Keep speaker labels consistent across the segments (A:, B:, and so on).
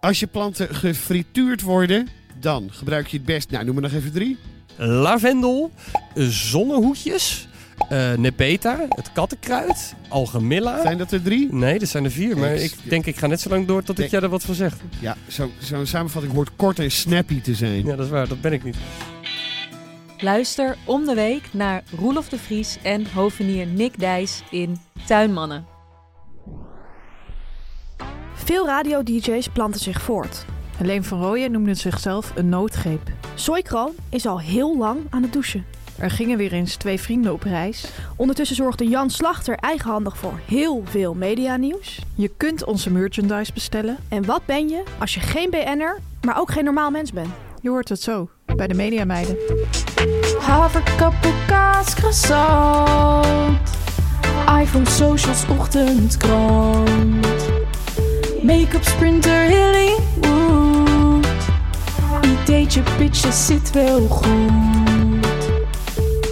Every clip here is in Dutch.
A: Als je planten gefrituurd worden, dan gebruik je het best. Nou, noem maar nog even drie.
B: lavendel, eh, zonnehoedjes, eh nebeta, het kattenkruid, algemilla.
A: Zijn dat er drie?
B: Nee, dat zijn er vier, maar
A: Niks.
B: ik denk ik ga net zo lang door tot ik
A: Nee.
B: jij er wat van zeg.
A: Ja, zo- zo'n samenvatting hoort kort en snappy te zijn.
B: Ja, dat is waar, dat ben ik niet.
C: Luister om de week naar Roelof de Vries en hovenier Nick Dijs in Tuinmannen.
D: Veel radio-dj's planten zich voort.
E: Leen van Rooyen noemde zichzelf een noodgreep.
D: Soikroon is al heel lang aan het douchen.
E: Er gingen weer eens twee vrienden op reis.
D: Ondertussen zorgde Jan Slachter eigenhandig voor heel veel medianieuws.
E: Je kunt onze merchandise bestellen.
D: En wat ben je als je geen BN'er, maar ook geen normaal mens bent?
E: Je hoort het zo bij de Mediameiden.
F: Haverkappel, kaas, croissant. iPhone, socials, ochtendkrant. Make-up, sprinter, Hollywood. Ideetje, pitches, zit wel goed.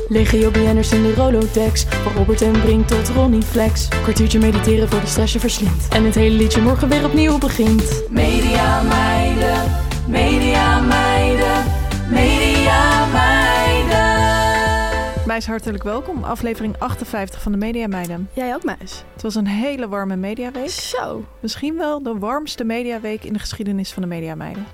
F: Legio BN'ers in de Rolodex. Van Robert en Brink tot Ronnie Flex. Kwartiertje mediteren voor de stress je verslindt. En het hele liedje morgen weer opnieuw begint. Media meiden, media meiden, media meiden.
E: Meis, hartelijk welkom. Aflevering 58 van de Mediameiden.
D: Jij ook, meis.
E: Het was een hele warme mediaweek.
D: Zo.
E: Misschien wel de warmste mediaweek in de geschiedenis van de Mediameiden.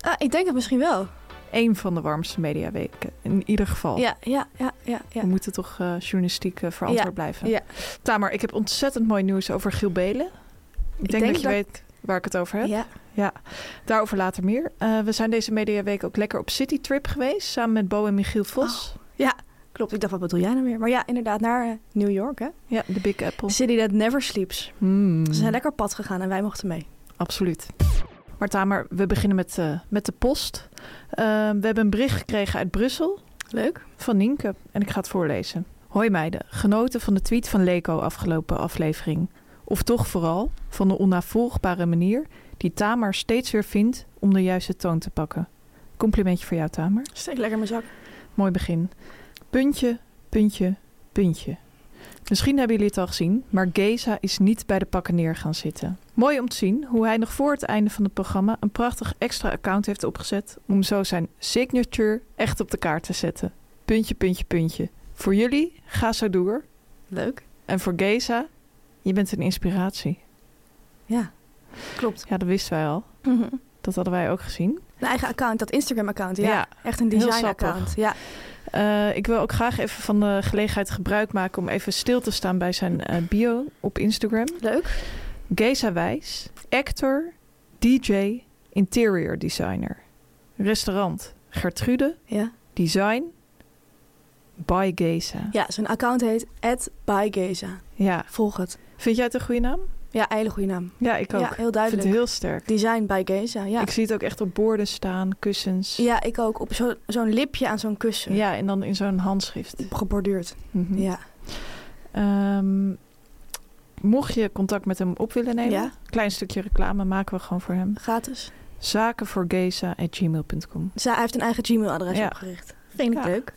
D: Ah, ik denk het misschien wel.
E: Eén van de warmste mediaweken, in ieder geval.
D: Ja, ja, ja, ja, ja.
E: We moeten toch eh, journalistiek eh, verantwoord blijven.
D: ja.
E: Tamer, ik heb ontzettend mooi nieuws over Giel Belen. Ik, denk,
D: denk
E: dat je
D: dat-
E: weet waar ik het over heb.
D: Ja.
E: Daarover later meer. Eh, we zijn deze mediaweek ook lekker op citytrip geweest. Samen met Bo en Michiel Vos.
D: ja, klopt. Ik dacht, wat bedoel jij nou weer? Maar ja, inderdaad, naar eh, New York, hè?
E: Ja, de Big Apple.
D: The city that never sleeps.
E: Hmm,
D: Ze zijn lekker op pad gegaan en wij mochten mee.
E: Absoluut. Maar Tamer, we beginnen met, eh, met de post. Eh, we hebben een bericht gekregen uit Brussel
D: Leuk.
E: van Nienke. En ik ga het voorlezen. Hoi meiden, genoten van de tweet van Leko afgelopen aflevering. Of toch vooral van de onnavolgbare manier die Tamer steeds weer vindt om de juiste toon te pakken. Complimentje voor jou, Tamer.
D: Steek lekker in mijn zak.
E: Mooi begin. Puntje, puntje, puntje. Misschien hebben jullie het al gezien, maar Geza is niet bij de pakken neer gaan zitten. Mooi om te zien hoe hij nog voor het einde van het programma een prachtig extra account heeft opgezet om zo zijn signature echt op de kaart te zetten. Puntje, puntje, puntje. Voor jullie, ga zo door.
D: Leuk.
E: En voor Geza, je bent een inspiratie.
D: Ja, klopt.
E: Ja, dat wisten wij al.
D: Mhm.
E: Dat hadden wij ook gezien.
D: Een eigen account, dat Instagram-account. Ja.
E: Ja,
D: echt een
E: heel
D: design-account. Ja.
E: Eh, ik wil ook graag even van de gelegenheid gebruik maken om even stil te staan bij zijn eh, bio op Instagram.
D: Leuk.
E: Geza Wijs, actor, DJ, interior designer. Restaurant Gertrude,
D: Ja.
E: design by Geza.
D: ja, zijn account heet @bygeza.
E: Ja,
D: Volg het.
E: vind jij het een goede naam?
D: Ja, hele goede naam.
E: Ja, ik ook.
D: Ja, heel
E: ik vind
D: duidelijk.
E: het heel sterk.
D: Design by Geza, ja.
E: Ik zie het ook echt op borden staan, kussens.
D: Ja, ik ook. Op zo- zo'n lipje aan zo'n kussen.
E: Ja, en dan in zo'n handschrift.
D: Geborduurd.
E: Mhm.
D: Ja.
E: Ehm, mocht je contact met hem op willen nemen,
D: Ja.
E: klein stukje reclame maken we gewoon voor hem.
D: Gratis.
E: zakenvoorgeza.gmail.com.
D: Zij hij heeft een eigen Gmail-adres
E: Ja.
D: opgericht. Vind ik
E: Ja.
D: leuk.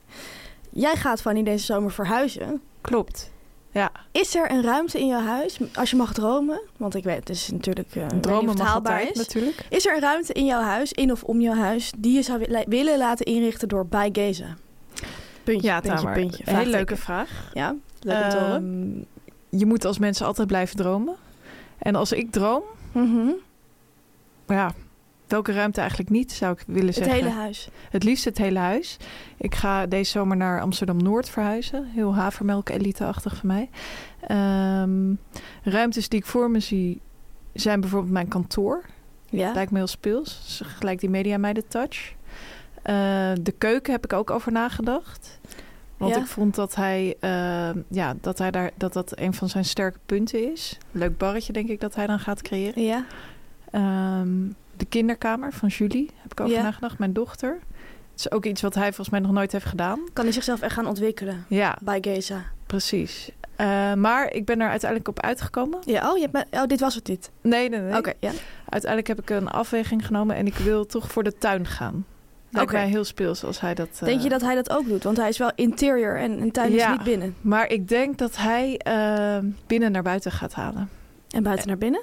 D: Jij gaat, Fanny, deze zomer verhuizen.
E: Klopt. Ja,
D: Is er een ruimte in je huis, als je mag dromen? Want ik weet, het is natuurlijk eh, ik weet niet of
E: dromen
D: het
E: mag
D: haalbaar
E: altijd
D: is.
E: natuurlijk.
D: Is er een ruimte in jouw huis, in of om jouw huis, die je zou wi- la- willen laten inrichten door bij Geza? Puntje,
E: Ja,
D: puntje,
E: Tamar.
D: puntje.
E: Hele
D: vraagteken.
E: leuke vraag.
D: Ja, leuk om te horen.
E: Ehm, je moet als mensen altijd blijven dromen. En als ik droom, mm-hmm.
D: Mhm.
E: maar ja, welke ruimte eigenlijk niet, zou ik willen
D: Het
E: zeggen.
D: hele huis.
E: Het liefst het hele huis. Ik ga deze zomer naar Amsterdam-Noord verhuizen. Heel havermelk-elite-achtig van mij. Ehm, ruimtes die ik voor me zie zijn bijvoorbeeld mijn kantoor.
D: Ja.
E: Lijkt me heel speels. Dus gelijk die media mij de touch. Eh, de keuken heb ik ook over nagedacht. Want
D: Ja.
E: ik vond dat hij, eh, ja, dat, hij daar, dat dat een van zijn sterke punten is. Leuk barretje denk ik dat hij dan gaat creëren.
D: Ja.
E: Ehm, de kinderkamer van Julie heb ik over
D: Ja.
E: nagedacht, mijn dochter. Het is ook iets wat hij volgens mij nog nooit heeft gedaan.
D: Kan hij zichzelf echt gaan ontwikkelen
E: Ja,
D: bij Geza?
E: precies. Eh, maar ik ben er uiteindelijk op uitgekomen.
D: Ja, oh, je hebt me- oh, dit was het niet.
E: Nee, nee, Eh. nee.
D: Oké, ja.
E: Uiteindelijk heb ik een afweging genomen en ik wil toch voor de tuin gaan. Lijkt
D: Oké.
E: mij heel speels als hij dat... eh,
D: Denk je dat hij dat ook doet? Want hij is wel interior en een tuin
E: Ja.
D: is niet binnen.
E: Maar ik denk dat hij eh, binnen naar buiten gaat halen.
D: En buiten
E: Eh.
D: naar binnen?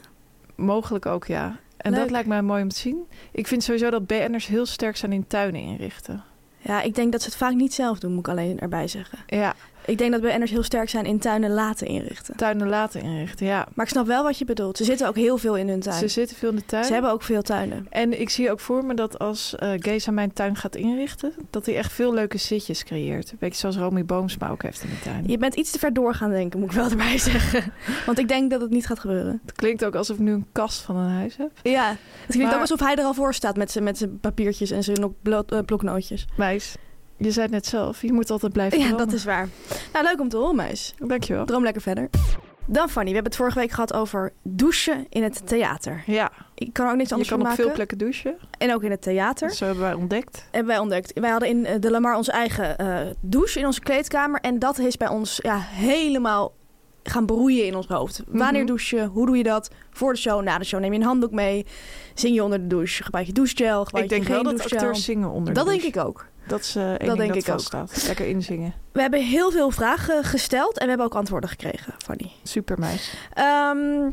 E: Mogelijk ook, ja. En
D: Leuk.
E: dat lijkt mij mooi om te zien. Ik vind sowieso dat BN'ers heel sterk zijn in tuinen inrichten.
D: Ja, ik denk dat ze het vaak niet zelf doen, moet ik alleen erbij zeggen.
E: Ja,
D: Ik denk dat BN'ers heel sterk zijn in tuinen laten inrichten.
E: tuinen laten inrichten, ja.
D: Maar ik snap wel wat je bedoelt. Ze zitten ook heel veel in hun tuin.
E: Ze
D: Ze,
E: zitten veel in de tuin.
D: hebben ook veel tuinen.
E: En ik zie ook voor me dat als eh Geza mijn tuin gaat inrichten... dat hij echt veel leuke zitjes creëert. Een beetje zoals Romy Boomsma ook heeft in de tuin.
D: Je bent iets te ver door gaan denken, moet ik wel erbij zeggen. Want ik denk dat het niet gaat gebeuren.
E: Het klinkt ook alsof ik nu een kast van een huis heb.
D: Ja, het klinkt
E: Maar-
D: ook alsof hij er al voor staat met zijn, met zijn papiertjes en zijn nok- blo- eh, bloknootjes.
E: Meis, je zei het net zelf. Je moet altijd blijven
D: Ja,
E: dromen.
D: dat is waar. Nou, leuk om te horen, meis.
E: Dankjewel.
D: Droom lekker verder. Dan Fanny, we hebben het vorige week gehad over douchen in het theater.
E: Ja,
D: Ik kan er ook niks
E: je
D: anders
E: kan
D: van
E: op
D: maken.
E: veel plekken douchen.
D: En ook in het theater.
E: Zo hebben wij ontdekt.
D: Hebben eh, wij ontdekt. Wij hadden in eh, de Lamar onze eigen eh, douche in onze kleedkamer. En dat is bij ons ja, helemaal gaan broeien in ons hoofd. Wanneer
E: Mhm.
D: douche je? Hoe doe je dat? Voor de show, na de show neem je een handdoek mee. Zing je onder de douche. Gebruik je douchegel. Gebruik
E: Ik denk
D: je geen
E: wel dat
D: douchegel.
E: acteurs zingen onder
D: Dat
E: de
D: denk
E: douche.
D: ik ook.
E: Dat is eh één
D: Dat
E: ding
D: denk
E: dat
D: ik ook.
E: vaststaat. Lekker inzingen.
D: We hebben heel veel vragen gesteld en we hebben ook antwoorden gekregen, Fanny.
E: Super meis.
D: Ehm,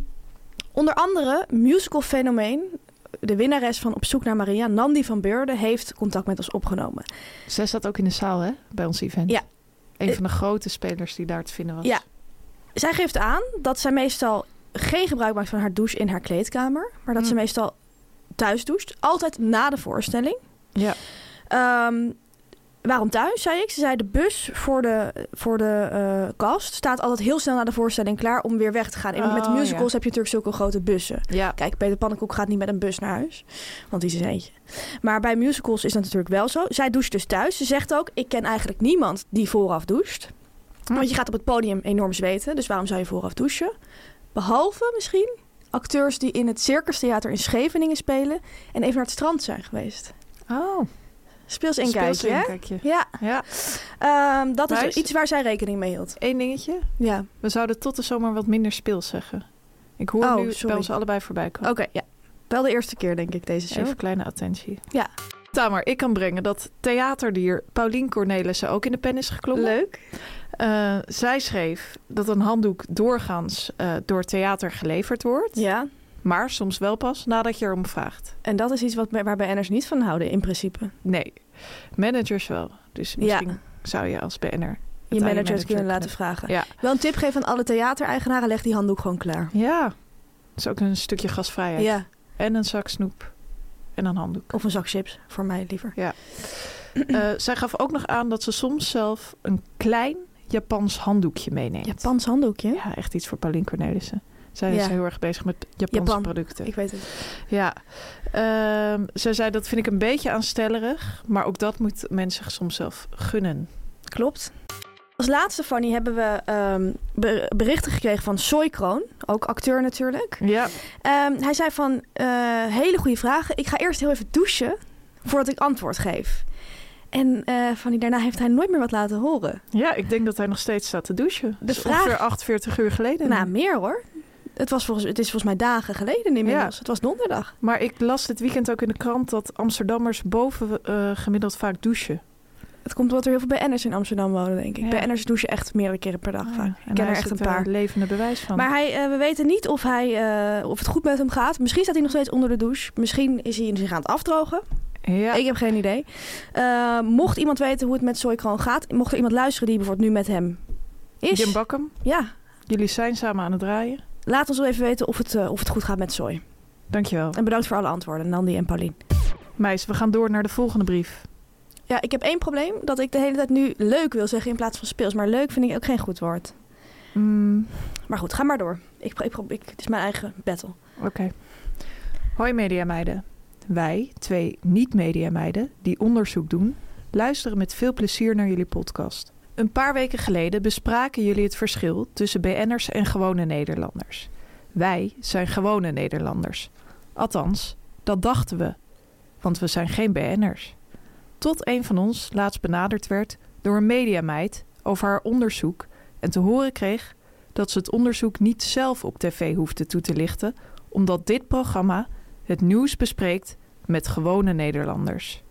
D: onder andere musical fenomeen. De winnares van Op zoek naar Maria, Nandi van Beurden, heeft contact met ons opgenomen.
E: Zij zat ook in de zaal, hè? Bij ons event.
D: Ja.
E: Een
D: Eh.
E: van de grote spelers die daar te vinden was.
D: Ja. Zij geeft aan dat zij meestal geen gebruik maakt van haar douche in haar kleedkamer. Maar dat
E: Mm.
D: ze meestal thuis doucht. Altijd na de voorstelling.
E: Ja.
D: Ehm, waarom thuis, zei ik. Ze zei de bus voor de, voor de eh, kast staat altijd heel snel na de voorstelling klaar om weer weg te gaan. En met
E: Oh,
D: musicals heb je natuurlijk zulke grote bussen.
E: Ja.
D: Kijk, Peter Pannenkoek gaat niet met een bus naar huis. Want die is een eentje. Maar bij musicals is dat natuurlijk wel zo. Zij doucht dus thuis. Ze zegt ook, ik ken eigenlijk niemand die vooraf doucht. Want je gaat op het podium enorm zweten. Dus waarom zou je vooraf douchen? Behalve misschien acteurs die in het Circus Theater in Scheveningen spelen... en even naar het strand zijn geweest.
E: Oh.
D: Speels inkijkje, hè?
E: kijkje.
D: Ja,
E: Ja.
D: ehm, dat is
E: Meis.
D: iets waar zij rekening mee hield.
E: Eén dingetje.
D: Ja,
E: We zouden tot de zomer wat minder speels zeggen. Ik hoor
D: Oh,
E: nu het
D: sorry.
E: bij ons allebei voorbij
D: oké,
E: komen.
D: ja. Wel de eerste keer, denk ik, deze show.
E: Even kleine attentie.
D: Ja.
E: Tamer, ik kan brengen dat theaterdier Paulien Cornelissen ook in de pen is geklommen.
D: Leuk.
E: Eh, zij schreef dat een handdoek doorgaans eh, door theater geleverd wordt.
D: Ja,
E: Maar soms wel pas nadat je erom vraagt.
D: en dat is iets wat, waar BN'ers niet van houden, in principe.
E: Nee, managers wel. Dus misschien zou je als BN'er...
D: je managers kunnen laten vragen.
E: Ja.
D: Wel een tip geven aan alle theatereigenaren, leg die handdoek gewoon klaar.
E: Ja, dat is ook een stukje gasvrijheid.
D: Ja,
E: En een zak snoep. En een handdoek.
D: of een zak chips, voor mij liever.
E: Eh, zij gaf ook nog aan dat ze soms zelf een klein Japans handdoekje meeneemt.
D: Japans handdoekje?
E: Ja, echt iets voor Paulien Cornelissen. Zij is
D: Ja.
E: heel erg bezig met Japanse
D: Japan.
E: producten.
D: Ik weet het.
E: Ja. Ehm, zij zei dat vind ik een beetje aanstellerig. Maar ook dat moet mensen soms zelf gunnen.
D: Klopt. Als laatste, Fanny, hebben we ehm, ber- berichten gekregen van Soy Kroon. Ook acteur natuurlijk.
E: Ja.
D: Ehm, hij zei van, eh, hele goede vragen. Ik ga eerst heel even douchen voordat ik antwoord geef. En eh, Fanny, daarna heeft hij nooit meer wat laten horen.
E: ja, ik denk dat hij nog steeds staat te douchen. De
D: vraag-
E: ongeveer 48 uur geleden.
D: Nou, meer hoor. Het, was volgens, het is volgens mij dagen geleden inmiddels.
E: Ja.
D: Het was donderdag.
E: Maar ik las dit weekend ook in de krant dat Amsterdammers boven eh, gemiddeld vaak douchen.
D: Het komt omdat er heel veel BN'ers in Amsterdam wonen, denk ik.
E: Ja.
D: BN'ers douchen echt meerdere keren per dag
E: Ah,
D: vaak. Ik
E: en
D: ken
E: daar
D: er
E: is
D: echt een
E: het,
D: paar.
E: eh, levende bewijs van.
D: Maar hij, eh, we weten niet of, hij, eh, of het goed met hem gaat. Misschien staat hij nog steeds onder de douche. Misschien is hij zich aan het afdrogen.
E: ja.
D: Ik heb geen idee. Eh, mocht iemand weten hoe het met Soykroon gaat, mocht er iemand luisteren die bijvoorbeeld nu met hem is,
E: Jim Bakkum,
D: ja,
E: jullie zijn samen aan het draaien.
D: laat ons wel even weten of het, eh, of het goed gaat met Soy.
E: Dankjewel.
D: En bedankt voor alle antwoorden, Nandi en Paulien.
E: Meis, we gaan door naar de volgende brief.
D: Ja, ik heb één probleem. Dat ik de hele tijd nu leuk wil zeggen in plaats van speels. Maar leuk vind ik ook geen goed woord.
E: Mm,
D: Maar goed, ga maar door. Ik, pro- ik, pro- ik, het is mijn eigen battle.
E: Oké. Hoi mediameiden. Wij, twee niet-mediameiden die onderzoek doen, luisteren met veel plezier naar jullie podcast. Een paar weken geleden bespraken jullie het verschil tussen BN'ers en gewone Nederlanders. Wij zijn gewone Nederlanders. Althans, dat dachten we, want we zijn geen BN'ers. Tot een van ons laatst benaderd werd door een mediameid over haar onderzoek en te horen kreeg dat ze het onderzoek niet zelf op tv hoefde toe te lichten, omdat dit programma het nieuws bespreekt met gewone Nederlanders.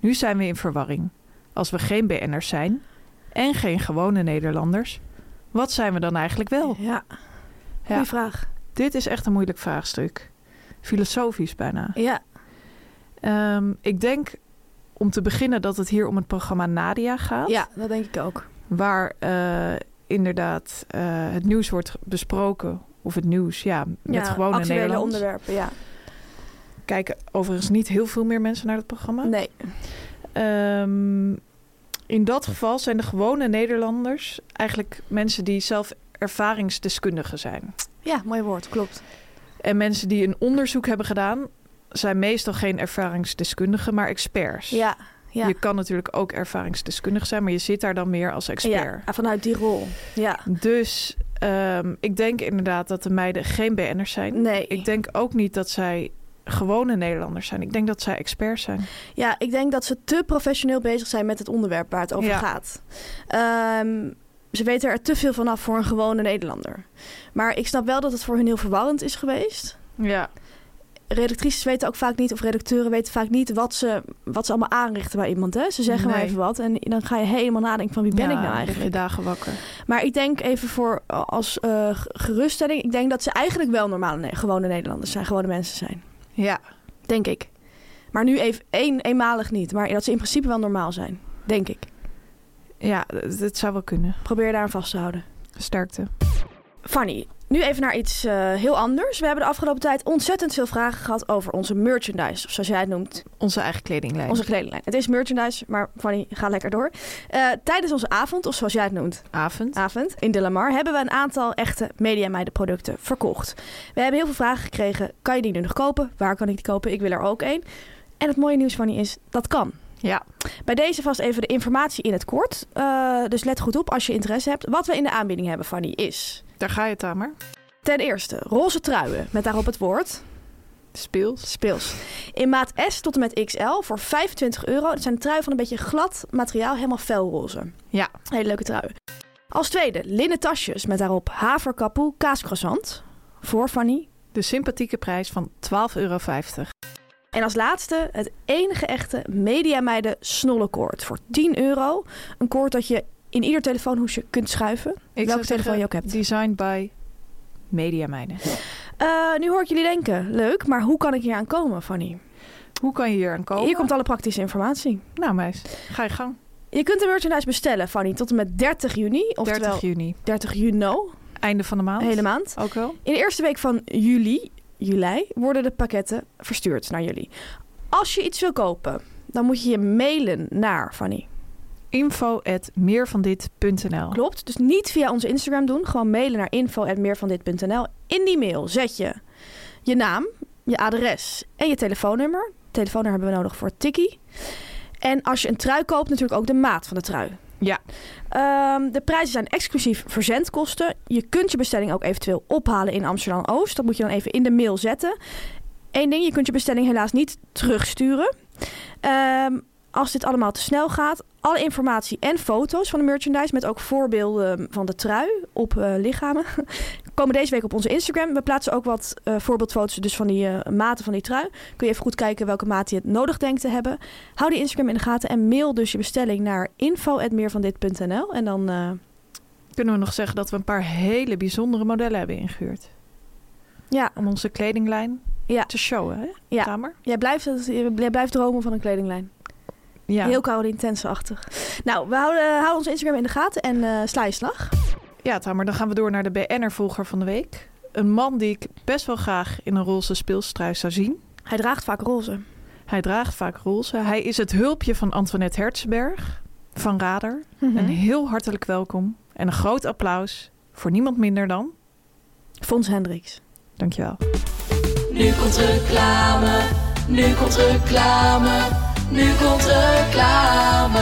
E: Nu zijn we in verwarring. Als we geen BN'ers zijn en geen gewone Nederlanders, wat zijn we dan eigenlijk wel?
D: Ja, goede
E: Ja.
D: vraag.
E: Dit is echt een moeilijk vraagstuk. Filosofisch bijna.
D: Ja,
E: Ehm, ik denk om te beginnen dat het hier om het programma Nadia gaat.
D: ja, dat denk ik ook.
E: Waar eh, inderdaad eh, het nieuws wordt besproken. Of het nieuws, ja, met
D: ja,
E: gewone
D: actuele
E: Nederlanders.
D: onderwerpen, ja.
E: Kijken overigens niet heel veel meer mensen naar het programma.
D: Nee,
E: Ehm, in dat geval zijn de gewone Nederlanders eigenlijk mensen die zelf ervaringsdeskundigen zijn.
D: ja, mooi woord, klopt.
E: En mensen die een onderzoek hebben gedaan, zijn meestal geen ervaringsdeskundigen, maar experts.
D: Ja, ja.
E: Je kan natuurlijk ook ervaringsdeskundig zijn, maar je zit daar dan meer als expert.
D: Ja, ah, vanuit die rol. Ja,
E: Dus ehm, ik denk inderdaad dat de meiden geen BN'ers zijn.
D: nee.
E: Ik denk ook niet dat zij gewone Nederlanders zijn. Ik denk dat zij experts zijn.
D: Ja, ik denk dat ze te professioneel bezig zijn met het onderwerp waar het over
E: Ja.
D: gaat. Ehm, ze weten er te veel vanaf voor een gewone Nederlander. Maar ik snap wel dat het voor hun heel verwarrend is geweest.
E: Ja.
D: Redactrices weten ook vaak niet, of redacteuren weten vaak niet wat ze, wat ze allemaal aanrichten bij iemand. Hè? Ze zeggen maar
E: Nee.
D: even wat. En dan ga je helemaal nadenken van wie ben ik nou
E: je
D: eigenlijk.
E: dagen wakker.
D: Maar ik denk even voor eh, als eh, g- geruststelling. Ik denk dat ze eigenlijk wel normale ne- gewone Nederlanders zijn, gewone mensen zijn.
E: Ja.
D: Denk ik. Maar nu even één, eenmalig niet. Maar dat ze in principe wel normaal zijn. Denk ik.
E: Ja, d- dat zou wel kunnen.
D: Probeer daar aan vast te houden.
E: Sterkte.
D: Fanny, nu even naar iets eh, heel anders. We hebben de afgelopen tijd ontzettend veel vragen gehad over onze merchandise. Of zoals jij het noemt,
E: Onze eigen kledinglijn.
D: onze kledinglijn. Het is merchandise, maar Fanny, ga lekker door. Eh, tijdens onze avond, of zoals jij het noemt,
E: avond.
D: avond in De La Mar... hebben we een aantal echte Media Meiden producten verkocht. We hebben heel veel vragen gekregen. Kan je die nu nog kopen? Waar kan ik die kopen? Ik wil er ook één. En het mooie nieuws, Fanny, is dat kan.
E: Ja.
D: Bij deze vast even de informatie in het kort. Eh, dus let goed op als je interesse hebt. Wat we in de aanbieding hebben, Fanny, is...
E: Daar ga je, Tamer.
D: Ten eerste, roze truien met daarop het woord
E: Speels.
D: speels. In maat S tot en met XL voor 25 euro. Het zijn truien van een beetje glad materiaal, helemaal felroze.
E: Ja.
D: Hele leuke truien. Als tweede, linnen tasjes met daarop haverkapoe kaascroissant voor Fanny.
E: De sympathieke prijs van 12,50 euro.
D: En als laatste, het enige echte Mediameiden snollenkoord voor 10 euro. Een koord dat je in ieder telefoonhoesje kunt schuiven.
E: Ik
D: Welke telefoon je ook hebt.
E: Designed by Media Meiden.
D: Eh, nu hoor ik jullie denken, leuk, maar hoe kan ik hier aan komen, Fanny?
E: Hoe kan je hier aan komen?
D: Hier komt alle praktische informatie.
E: Nou, meis, ga je gang.
D: Je kunt de merchandise bestellen, Fanny, tot en met 30 juni. Oftewel
E: 30 juni.
D: 30 juno,
E: Einde van de maand.
D: de hele maand.
E: Ook wel.
D: In de eerste week van juli, juli worden de pakketten verstuurd naar jullie. Als je iets wil kopen, dan moet je je mailen naar Fanny.
E: Info at meervandit.nl.
D: Klopt, dus niet via onze Instagram doen. Gewoon mailen naar info.meervandit.nl. In die mail zet je je naam, je adres en je telefoonnummer. Telefoonnummer hebben we nodig voor Tikkie. En als je een trui koopt, natuurlijk ook de maat van de trui.
E: Ja.
D: Ehm, de prijzen zijn exclusief verzendkosten. Je kunt je bestelling ook eventueel ophalen in Amsterdam-Oost. Dat moet je dan even in de mail zetten. Eén ding, je kunt je bestelling helaas niet terugsturen. Ehm, als dit allemaal te snel gaat, alle informatie en foto's van de merchandise... met ook voorbeelden van de trui op eh, lichamen... Komen deze week op onze Instagram. We plaatsen ook wat eh, voorbeeldfoto's dus van die eh, maten van die trui. Kun je even goed kijken welke maat je het nodig denkt te hebben. Hou die Instagram in de gaten en mail dus je bestelling naar info.meervandit.nl. En dan eh,
E: Kunnen we nog zeggen dat we een paar hele bijzondere modellen hebben ingehuurd.
D: ja,
E: Om onze kledinglijn
D: Ja.
E: te showen, hè?
D: Ja.
E: Tamer?
D: jij blijft, het- jij blijft dromen van een kledinglijn.
E: Ja.
D: Heel Caroline Tense-achtig. Nou, we houden, houden onze Instagram in de gaten en eh, sla je slag.
E: Ja, Tamer, dan gaan we door naar de BN'er-volger van de week. Een man die ik best wel graag in een roze speelstruis zou zien.
D: Hij draagt vaak roze.
E: Hij draagt vaak roze. Hij is het hulpje van Antoinette Hertzberg van Radar.
D: Mhm.
E: Een heel hartelijk welkom en een groot applaus voor niemand minder dan...
D: Fons Hendricks.
E: Dankjewel.
F: Nu komt reclame, nu komt reclame, nu komt reclame.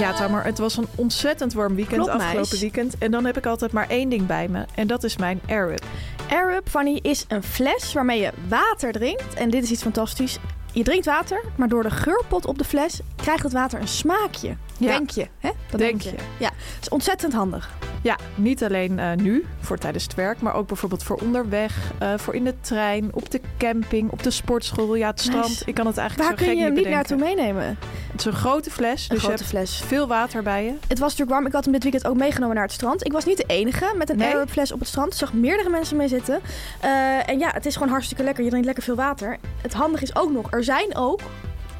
E: Ja, Tamer, het was een ontzettend warm weekend
D: Klopt,
E: afgelopen
D: meis.
E: weekend. En dan heb ik altijd maar één ding bij me. En dat is mijn Arab.
D: Airwrap, Fanny, is een fles waarmee je water drinkt. En dit is iets fantastisch. Je drinkt water, maar door de geurpot op de fles krijgt het water een smaakje.
E: Ja.
D: Denk je, hè? Dat
E: Denk je.
D: Ja, het is ontzettend handig.
E: Ja, niet alleen eh, nu, voor tijdens het werk, maar ook bijvoorbeeld voor onderweg, eh, voor in de trein, op de camping, op de sportschool, ja, het strand.
D: Meis,
E: Ik kan het eigenlijk
D: Waar
E: zo
D: kun
E: gek
D: je hem niet
E: bedenken.
D: naartoe meenemen?
E: Het is een grote fles,
D: Een
E: dus
D: grote
E: je
D: fles.
E: hebt veel water bij je.
D: Het was natuurlijk warm. Ik had hem dit weekend ook meegenomen naar het strand. Ik was niet de enige met een
E: Nee?
D: Airwrap fles op het strand. Ik zag meerdere mensen mee zitten. Eh, en ja, het is gewoon hartstikke lekker. Je drinkt lekker veel water. Het handige is ook nog, er zijn ook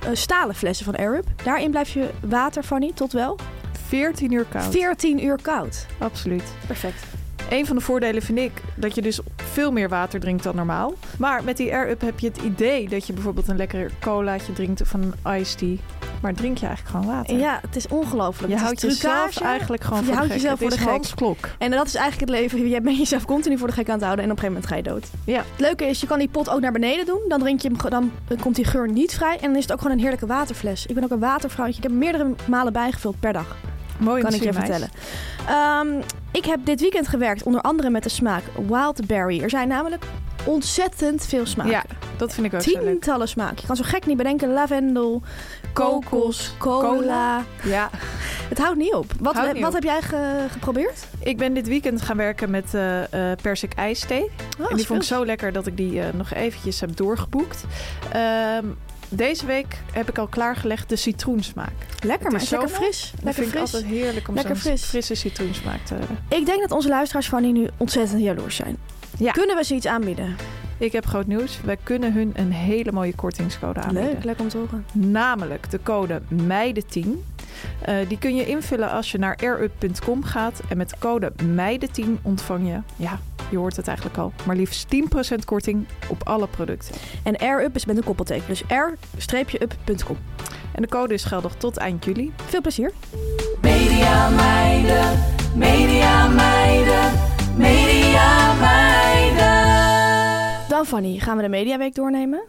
D: eh, stalen flessen van Airwrap. Daarin blijf je water, Fanny, tot wel
E: 14 uur koud.
D: 14 uur koud.
E: Absoluut.
D: Perfect.
E: Een van de voordelen vind ik dat je dus veel meer water drinkt dan normaal. Maar met die Air Up heb je het idee dat je bijvoorbeeld een lekker colaatje drinkt of een iced tea. Maar drink je eigenlijk gewoon water.
D: Ja, het is ongelooflijk. Het
E: Je
D: is
E: houdt jezelf
D: trucage.
E: eigenlijk gewoon
D: Je
E: voor
D: houdt
E: de gek.
D: jezelf
E: Het
D: voor
E: is
D: de gek.
E: Hans Klok.
D: En dat is eigenlijk het leven. Jij bent jezelf continu voor de gek aan het houden en op een gegeven moment ga je dood.
E: Ja.
D: Het leuke is, je kan die pot ook naar beneden doen. Dan, drink je hem, ge- dan eh, komt die geur niet vrij. En dan is het ook gewoon een heerlijke waterfles. Ik ben ook een watervrouwtje. Ik heb meerdere malen bijgevuld per dag.
E: Mooi om
D: kan
E: te
D: ik je
E: zien, meis.
D: vertellen. Ehm, ik heb dit weekend gewerkt, onder andere met de smaak Wildberry. Er zijn namelijk ontzettend veel smaken.
E: Ja, dat vind ik ook zo leuk.
D: Tientallen smaken. Je kan zo gek niet bedenken. Lavendel, kokos, cola.
E: cola. Ja.
D: Het houdt niet op. Wat,
E: Houdt niet
D: wat
E: op.
D: heb jij ge- geprobeerd?
E: Ik ben dit weekend gaan werken met eh eh persik ijsthee.
D: Oh,
E: en die vond ik zo lekker dat ik die eh, nog eventjes heb doorgeboekt. Ehm, deze week heb ik al klaargelegd de citroensmaak.
D: lekker,
E: het
D: maar
E: is
D: is lekker
E: zomer.
D: fris.
E: dat
D: Lekker
E: vind ik
D: fris.
E: altijd
D: Ik,
E: heerlijk om
D: Lekker
E: zo'n
D: fris.
E: frisse citroensmaak te hebben.
D: denk dat onze luisteraars van die nu ontzettend jaloers zijn.
E: Ja.
D: Kunnen we ze iets aanbieden?
E: Ik heb groot nieuws. Wij kunnen hun een hele mooie kortingscode aanbieden.
D: Leuk, leuk om te horen.
E: Namelijk de code MEIDEN10. Eh, die kun je invullen als je naar airup.com gaat. En met code MEIDEN10 ontvang je, ja, je hoort het eigenlijk al, maar liefst 10% korting op alle producten.
D: En AirUp is met een koppelteken. Dus r-up.com.
E: En de code is geldig tot eind juli.
D: Veel plezier.
F: Media meiden, media meiden, media meiden.
D: Dan Fanny, gaan we de Mediaweek doornemen.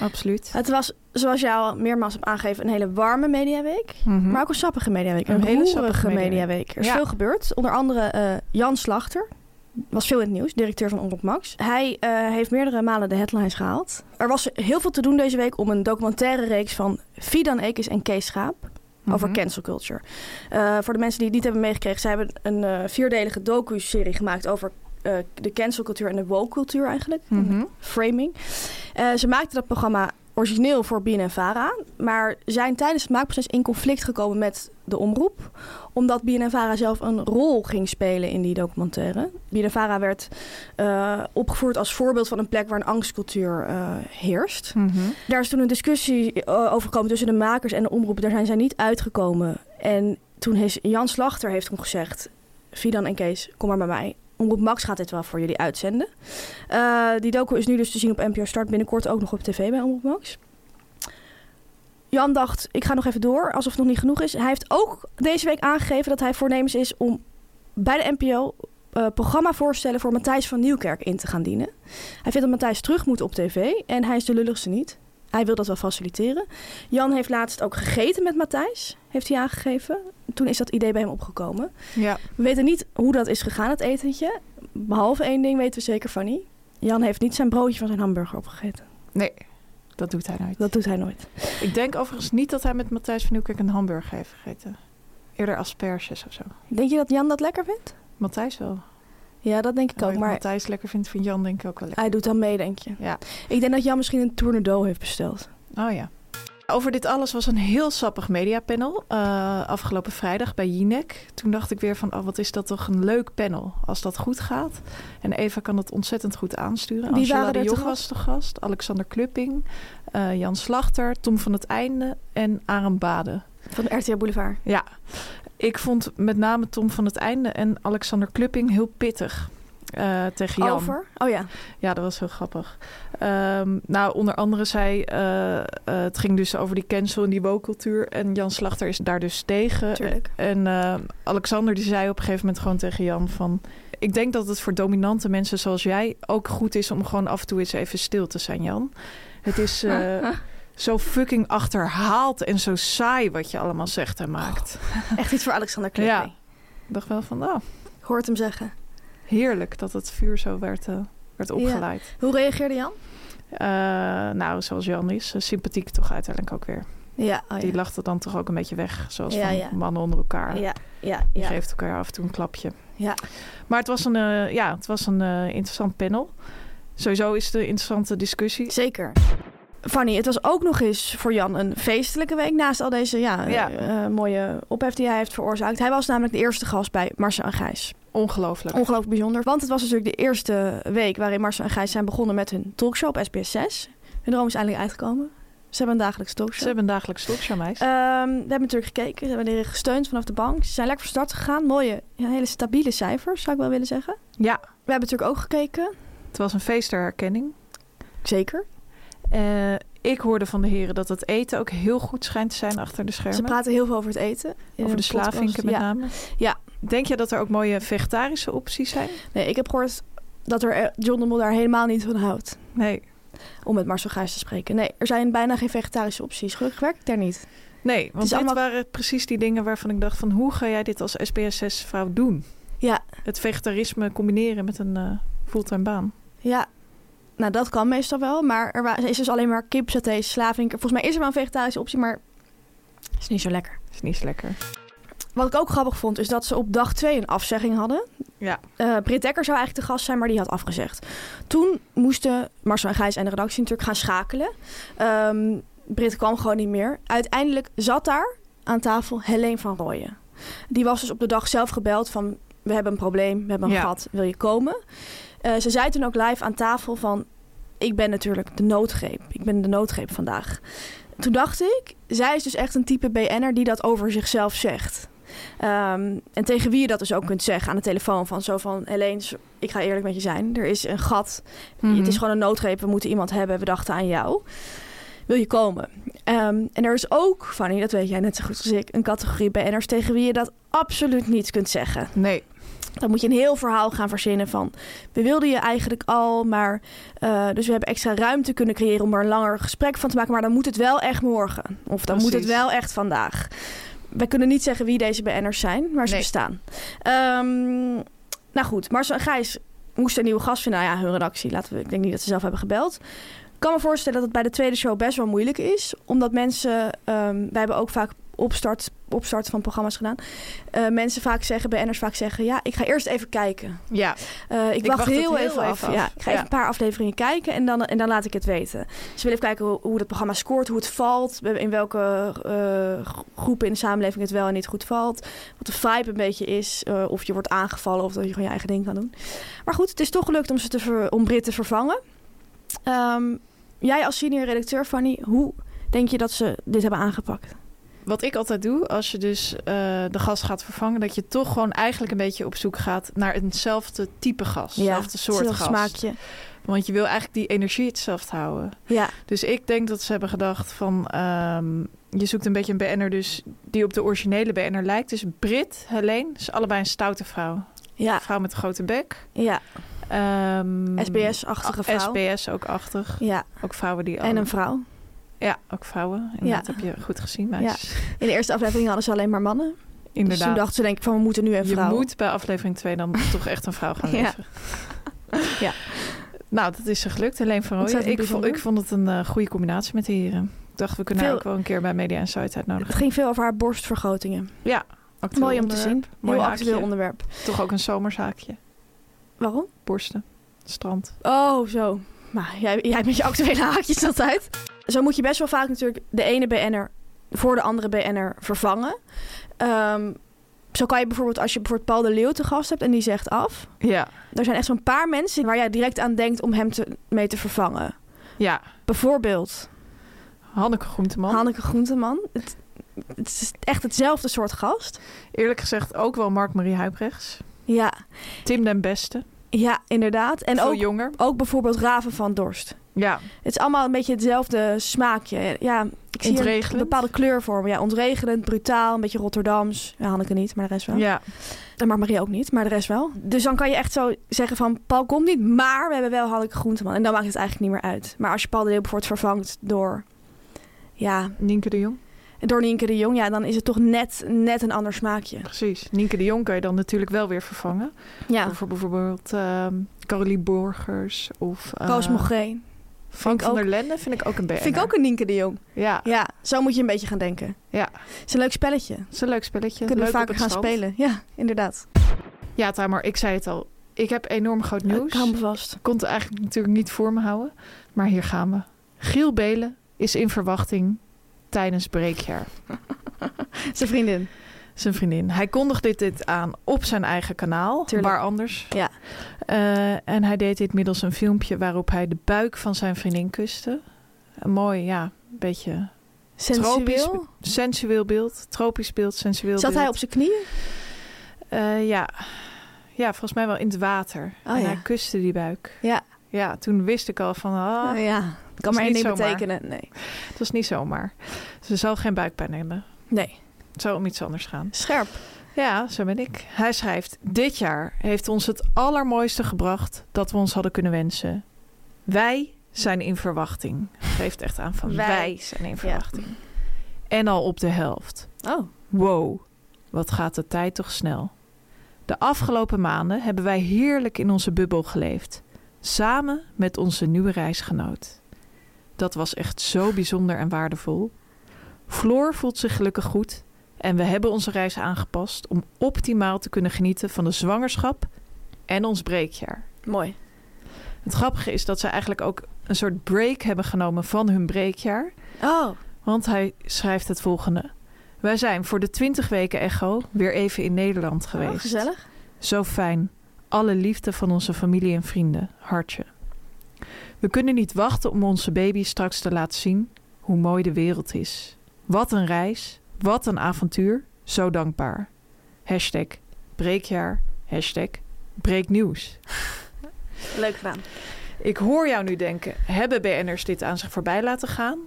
E: Absoluut.
D: Het was, zoals jij al meermaals hebt aangegeven, een hele warme Mediaweek.
E: Mhm.
D: Maar ook een sappige mediaweek.
E: Een
D: Een,
E: hele
D: hele
E: sappige
D: sappige
E: mediaweek.
D: mediaweek. Er is
E: Ja.
D: veel gebeurd. Onder andere eh, Jan Slachter. Was veel in het nieuws, directeur van Omroep Max. Hij eh, heeft meerdere malen de headlines gehaald. Er was heel veel te doen deze week om een documentaire reeks van Fidan Ekis en Kees Schaap. Over
E: Mhm.
D: cancel culture. Eh, voor de mensen die het niet hebben meegekregen, zij hebben een eh, vierdelige docu-serie gemaakt over eh, de cancelcultuur en de woke-cultuur eigenlijk
E: Mhm.
D: framing. Eh, ze maakte dat programma origineel voor BNNVARA, maar zijn tijdens het maakproces in conflict gekomen met de omroep, omdat BNNVARA zelf een rol ging spelen in die documentaire. BNNVARA werd eh, opgevoerd als voorbeeld van een plek waar een angstcultuur eh, heerst.
E: Mhm.
D: Daar is toen een discussie eh, over gekomen tussen de makers en de omroep. Daar zijn zij niet uitgekomen. En toen heeft Jan Slachter heeft toen gezegd... Fidan en Kees, kom maar bij mij. Omroep Max gaat dit wel voor jullie uitzenden. Eh, die docu is nu dus te zien op NPO Start. Binnenkort ook nog op tv bij Omroep Max. Jan dacht, ik ga nog even door, alsof het nog niet genoeg is. Hij heeft ook deze week aangegeven dat hij voornemens is om bij de NPO... eh programmavoorstellen voor Matthijs van Nieuwkerk in te gaan dienen. Hij vindt dat Matthijs terug moet op tv en hij is de lulligste niet. Hij wil dat wel faciliteren. Jan heeft laatst ook gegeten met Matthijs, heeft hij aangegeven. Toen is dat idee bij hem opgekomen.
E: Ja.
D: We weten niet hoe dat is gegaan, het etentje. Behalve één ding weten we zeker van niet. Jan heeft niet zijn broodje van zijn hamburger opgegeten.
E: Nee, dat doet hij nooit.
D: Dat doet hij nooit.
E: Ik denk overigens niet dat hij met Matthijs van Nieuwkerk een hamburger heeft gegeten. Eerder asperges of zo.
D: Denk je dat Jan dat lekker vindt?
E: Matthijs wel.
D: Ja, dat denk ik ook.
E: Wat
D: Maar
E: Matthijs lekker vindt, vind Jan denk ik ook wel lekker.
D: hij doet dan mee, denk je.
E: Ja.
D: Ik denk dat Jan misschien een tornado heeft besteld.
E: Oh ja. Over dit alles was een heel sappig mediapanel eh, afgelopen vrijdag bij Jinek. Toen dacht ik weer van, oh, wat is dat toch een leuk panel als dat goed gaat. En Eva kan dat ontzettend goed aansturen.
D: Wie
E: Angela
D: waren
E: de
D: er te
E: Jong
D: gast?
E: was de gast, Alexander Klupping, eh, Jan Slachter, Tom van het Einde en Arend Bade.
D: Van de RTL Boulevard.
E: Ja, ik vond met name Tom van het Einde en Alexander Klupping heel pittig eh, tegen Jan.
D: Over? Oh ja.
E: Ja, dat was heel grappig. Ehm, nou, onder andere zei, eh, eh, het ging dus over die cancel en die woke-cultuur. En Jan Slachter is daar dus tegen.
D: Tuurlijk.
E: En eh, Alexander die zei op een gegeven moment gewoon tegen Jan van... Ik denk dat het voor dominante mensen zoals jij ook goed is om gewoon af en toe eens even stil te zijn, Jan. Het is eh, zo fucking achterhaald en zo saai wat je allemaal zegt en maakt.
D: Echt iets voor Alexander Klupping.
E: Ja. Ik dacht wel van, nou,
D: Hoort hem zeggen.
E: heerlijk dat het vuur zo werd, eh, werd opgeleid.
D: Hoe reageerde Jan?
E: Eh, nou, zoals Jan is, eh, sympathiek toch uiteindelijk ook weer.
D: Ja, oh
E: Die
D: ja.
E: lachte dan toch ook een beetje weg, zoals
D: Ja,
E: van
D: ja.
E: mannen onder elkaar.
D: Ja, ja,
E: Die
D: ja.
E: geeft elkaar af en toe een klapje.
D: Ja.
E: Maar het was een, eh, ja, het was een eh, interessant panel. Sowieso is het een interessante discussie.
D: Zeker. Fanny, het was ook nog eens voor Jan een feestelijke week. Naast al deze ja,
E: Ja.
D: eh, eh, mooie ophef die hij heeft veroorzaakt. Hij was namelijk de eerste gast bij Marcel en Gijs.
E: Ongelooflijk.
D: Ongelooflijk bijzonder. Want het was natuurlijk de eerste week waarin Marcel en Gijs zijn begonnen met hun talkshow op SBS 6. Hun droom is eindelijk uitgekomen. Ze hebben een dagelijkse
E: Ze
D: talkshow.
E: hebben een dagelijks talkshow, meis.
D: Ehm, we hebben natuurlijk gekeken. Ze hebben erin gesteund vanaf de bank. Ze zijn lekker van start gegaan. Mooie, ja, hele stabiele cijfers, zou ik wel willen zeggen.
E: ja,
D: We hebben natuurlijk ook gekeken.
E: het was een feest ter herkenning.
D: Zeker.
E: Eh, ik hoorde van de heren dat het eten ook heel goed schijnt te zijn achter de schermen.
D: Ze praten heel veel over het eten. In
E: over
D: hun
E: de slavinken
D: podcast.
E: met
D: Ja.
E: name.
D: Ja.
E: Denk je dat er ook mooie vegetarische opties zijn?
D: Nee, ik heb gehoord dat er eh, John de Mol daar helemaal niet van houdt.
E: Nee.
D: Om met Marcel Gijs te spreken. Nee, er zijn bijna geen vegetarische opties. Gelukkig werkt het daar niet.
E: Nee, want
D: is
E: dit
D: allemaal-
E: waren precies die dingen waarvan ik dacht van... hoe ga jij dit als SBS6-vrouw doen?
D: Ja.
E: Het vegetarisme combineren met een eh, fulltime baan.
D: Ja, nou dat kan meestal wel. Maar er wa- is dus alleen maar kip, saté, slavink. Volgens mij is er wel een vegetarische optie, maar is niet zo lekker.
E: Is niet zo lekker.
D: Wat ik ook grappig vond, is dat ze op dag twee een afzegging hadden.
E: Ja.
D: Eh Britt Dekker zou eigenlijk de gast zijn, maar die had afgezegd. Toen moesten Marcel en Gijs en de redactie natuurlijk gaan schakelen. Ehm Britt kwam gewoon niet meer. Uiteindelijk zat daar aan tafel Helene van Rooyen. Die was dus op de dag zelf gebeld van... we hebben een probleem, we hebben een
E: Ja.
D: gat, wil je komen? Eh, ze zei toen ook live aan tafel van... ik ben natuurlijk de noodgreep, ik ben de noodgreep vandaag. Toen dacht ik, zij is dus echt een type BN'er die dat over zichzelf zegt. Ehm, en tegen wie je dat dus ook kunt zeggen aan de telefoon. Van zo van, Helene, zo- ik ga eerlijk met je zijn. Er is een gat. Mm-hmm. Het
E: Mhm.
D: is gewoon een noodgreep. We moeten iemand hebben. We dachten aan jou. Wil je komen? Ehm, en er is ook, Fanny, dat weet jij net zo goed als ik... een categorie BN'ers tegen wie je dat absoluut niet kunt zeggen.
E: Nee.
D: Dan moet je een heel verhaal gaan verzinnen van... we wilden je eigenlijk al, maar... eh, dus we hebben extra ruimte kunnen creëren om er een langer gesprek van te maken... maar dan moet het wel echt morgen. Of dan moet het
E: Precies.
D: wel echt vandaag. Wij kunnen niet zeggen wie deze BN'ers zijn, maar ze
E: Nee.
D: bestaan. Ehm, nou goed, Marcel en Gijs moesten een nieuwe gast vinden. Nou ja, hun redactie. Laten we, ik denk niet dat ze zelf hebben gebeld. Ik kan me voorstellen dat het bij de tweede show best wel moeilijk is. Omdat mensen... ehm, wij hebben ook vaak opstart, opstart van programma's gedaan. Eh, mensen vaak zeggen, BN'ers vaak zeggen... ja, ik ga eerst even kijken.
E: Ja.
D: Eh, ik,
E: Ik
D: wacht
E: wacht het
D: heel,
E: heel
D: even af.
E: even af.
D: Ja, ik ga
E: Ja.
D: even een paar afleveringen kijken en dan, en dan laat ik het weten. Ze willen even kijken hoe, hoe dat programma scoort, hoe het valt... in welke eh, gro- groepen in de samenleving het wel en niet goed valt. Wat de vibe een beetje is, eh, of je wordt aangevallen... of dat je gewoon je eigen ding kan doen. Maar goed, het is toch gelukt om, ze te ver, om Brit te vervangen. Ehm, jij als senior redacteur, Fanny, hoe denk je dat ze dit hebben aangepakt?
E: Wat ik altijd doe, als je dus eh, de gast gaat vervangen... dat je toch gewoon eigenlijk een beetje op zoek gaat naar eenzelfde type gast. Hetzelfde soort
D: hetzelfde
E: gast.
D: smaakje.
E: Want je wil eigenlijk die energie hetzelfde houden.
D: Ja,
E: Dus ik denk dat ze hebben gedacht van... ehm, je zoekt een beetje een BN'er dus die op de originele BN'er lijkt. Dus Brit, Helene, is allebei een stoute vrouw.
D: ja,
E: Vrouw met een grote bek.
D: ja.
E: Ehm,
D: SBS-achtige
E: a-
D: vrouw.
E: SBS ook achtig.
D: Ja,
E: Ook vrouwen die...
D: en een vrouw.
E: Ja, ook vrouwen. En
D: Ja. Dus
E: dat heb je goed gezien, meisjes.
D: In de eerste aflevering hadden ze alleen maar mannen. Dus toen
E: Inderdaad.
D: dachten ze denk ik van we moeten nu een
E: je
D: vrouw.
E: moet bij aflevering 2 dan toch echt een vrouw gaan
D: Ja.
E: leveren.
D: Ja.
E: Nou, dat is ze gelukt. Helene van Rooyen.
D: Ontzettend
E: Ik, vond-
D: bijzonder.
E: ik vond het een eh, goede combinatie met de heren. Ik dacht, we kunnen haar
D: Veel-
E: ook wel een keer bij Media Insight uitnodigen.
D: Het ging veel over haar borstvergrotingen.
E: Ja. Actueel
D: Mooi om te
E: onderwerp.
D: zien.
E: Mooi
D: Heel
E: haakje.
D: actueel onderwerp.
E: Toch ook een zomerzaakje.
D: Waarom?
E: Borsten. Strand.
D: Oh, zo. Maar jij, jij met je actuele haakjes altijd. Zo moet je best wel vaak natuurlijk de ene BN'er voor de andere BN'er vervangen. Ehm, zo kan je bijvoorbeeld als je bijvoorbeeld Paul de Leeuw te gast hebt en die zegt af.
E: Ja.
D: Er zijn echt zo'n paar mensen waar jij direct aan denkt om hem te, mee te vervangen.
E: Ja.
D: Bijvoorbeeld
E: Hanneke Groenteman.
D: Hanneke Groenteman. Het, het is echt hetzelfde soort gast.
E: Eerlijk gezegd ook wel Mark-Marie Huibrechts.
D: Ja,
E: Tim den Beste.
D: ja inderdaad. En
E: Veel
D: ook,
E: jonger.
D: ook bijvoorbeeld Raven van Dorst.
E: Ja.
D: Het is allemaal een beetje hetzelfde smaakje. Ja, ik zie hier een
E: Ontregelend.
D: bepaalde kleur voor me. Ja, ontregelend, brutaal, een beetje Rotterdams. Ja, Hanneke niet, maar de rest wel.
E: Ja.
D: En maar Marie ook niet, maar de rest wel. Dus dan kan je echt zo zeggen van... Paul komt niet, maar we hebben wel Hanneke Groenteman. En dan maakt het eigenlijk niet meer uit. Maar als je Paul de Leeuw bijvoorbeeld vervangt door... Ja,
E: Nienke de Jong.
D: door Nienke de Jong... Ja, dan is het toch net, net een ander smaakje.
E: Precies. Nienke de Jong kan je dan natuurlijk wel weer vervangen.
D: Ja,
E: Of voor bijvoorbeeld ehm Carolie Borgers of eh,
D: Koos Mogreen.
E: Frank
D: ik
E: van
D: ook-
E: der Lende vind ik ook een BN'er.
D: Vind ik ook een Nienke de Jong.
E: Ja.
D: Ja, zo moet je een beetje gaan denken.
E: Ja.
D: Het is een leuk spelletje.
E: Het is een leuk spelletje.
D: Kunnen we
E: Leuk op
D: vaker
E: het
D: gaan
E: strand.
D: spelen. Ja, inderdaad.
E: Ja, Tamar, ik zei het al. Ik heb enorm groot nieuws.
D: Ik hou me vast.
E: kon het eigenlijk natuurlijk niet voor me houden. Maar hier gaan we. Giel Belen is in verwachting tijdens breekjaar.
D: Zijn vriendin.
E: Zijn vriendin. Hij kondigde dit aan op zijn eigen kanaal.
D: Tuurlijk.
E: Waar anders.
D: Ja.
E: Eh, en hij deed dit middels een filmpje waarop hij de buik van zijn vriendin kuste. Een mooi, ja, beetje
D: Sensueel.
E: sensueel beeld. Tropisch beeld, sensueel
D: Zat
E: beeld.
D: hij op zijn knieën?
E: Eh, ja. ja, volgens mij wel in het water.
D: Oh,
E: en
D: ja.
E: hij kuste die buik.
D: Ja.
E: Ja, toen wist ik al van... ah,
D: Nou ja, kan
E: is
D: maar één
E: niet
D: ding
E: zomaar.
D: betekenen. Nee.
E: Het was niet zomaar. Ze zal geen buikpijn hebben.
D: nee.
E: Het zou om iets anders gaan.
D: Scherp.
E: Ja, zo ben ik. Hij schrijft: Dit jaar heeft ons het allermooiste gebracht dat we ons hadden kunnen wensen. Wij zijn in verwachting. Geeft echt aan van
D: Wij.
E: wij, zijn in verwachting. En al op de helft.
D: Oh.
E: Wow, wat gaat de tijd toch snel. De afgelopen maanden hebben wij heerlijk in onze bubbel geleefd. Samen met onze nieuwe reisgenoot. Dat was echt zo bijzonder en waardevol. Floor voelt zich gelukkig goed en we hebben onze reis aangepast om optimaal te kunnen genieten van de zwangerschap en ons breekjaar.
D: Mooi.
E: Het grappige is dat ze eigenlijk ook een soort break hebben genomen van hun breekjaar.
D: Oh.
E: Want hij schrijft het volgende. Wij zijn voor de 20 weken echo weer even in Nederland geweest.
D: oh, gezellig.
E: Zo fijn. Alle liefde van onze familie en vrienden. Hartje. We kunnen niet wachten om onze baby straks te laten zien hoe mooi de wereld is. Wat een reis. Wat een avontuur. Zo dankbaar. Hashtag breekjaar. Hashtag breeknieuws.
D: Leuk gedaan.
E: Ik hoor jou nu denken. Hebben BN'ers dit aan zich voorbij laten gaan?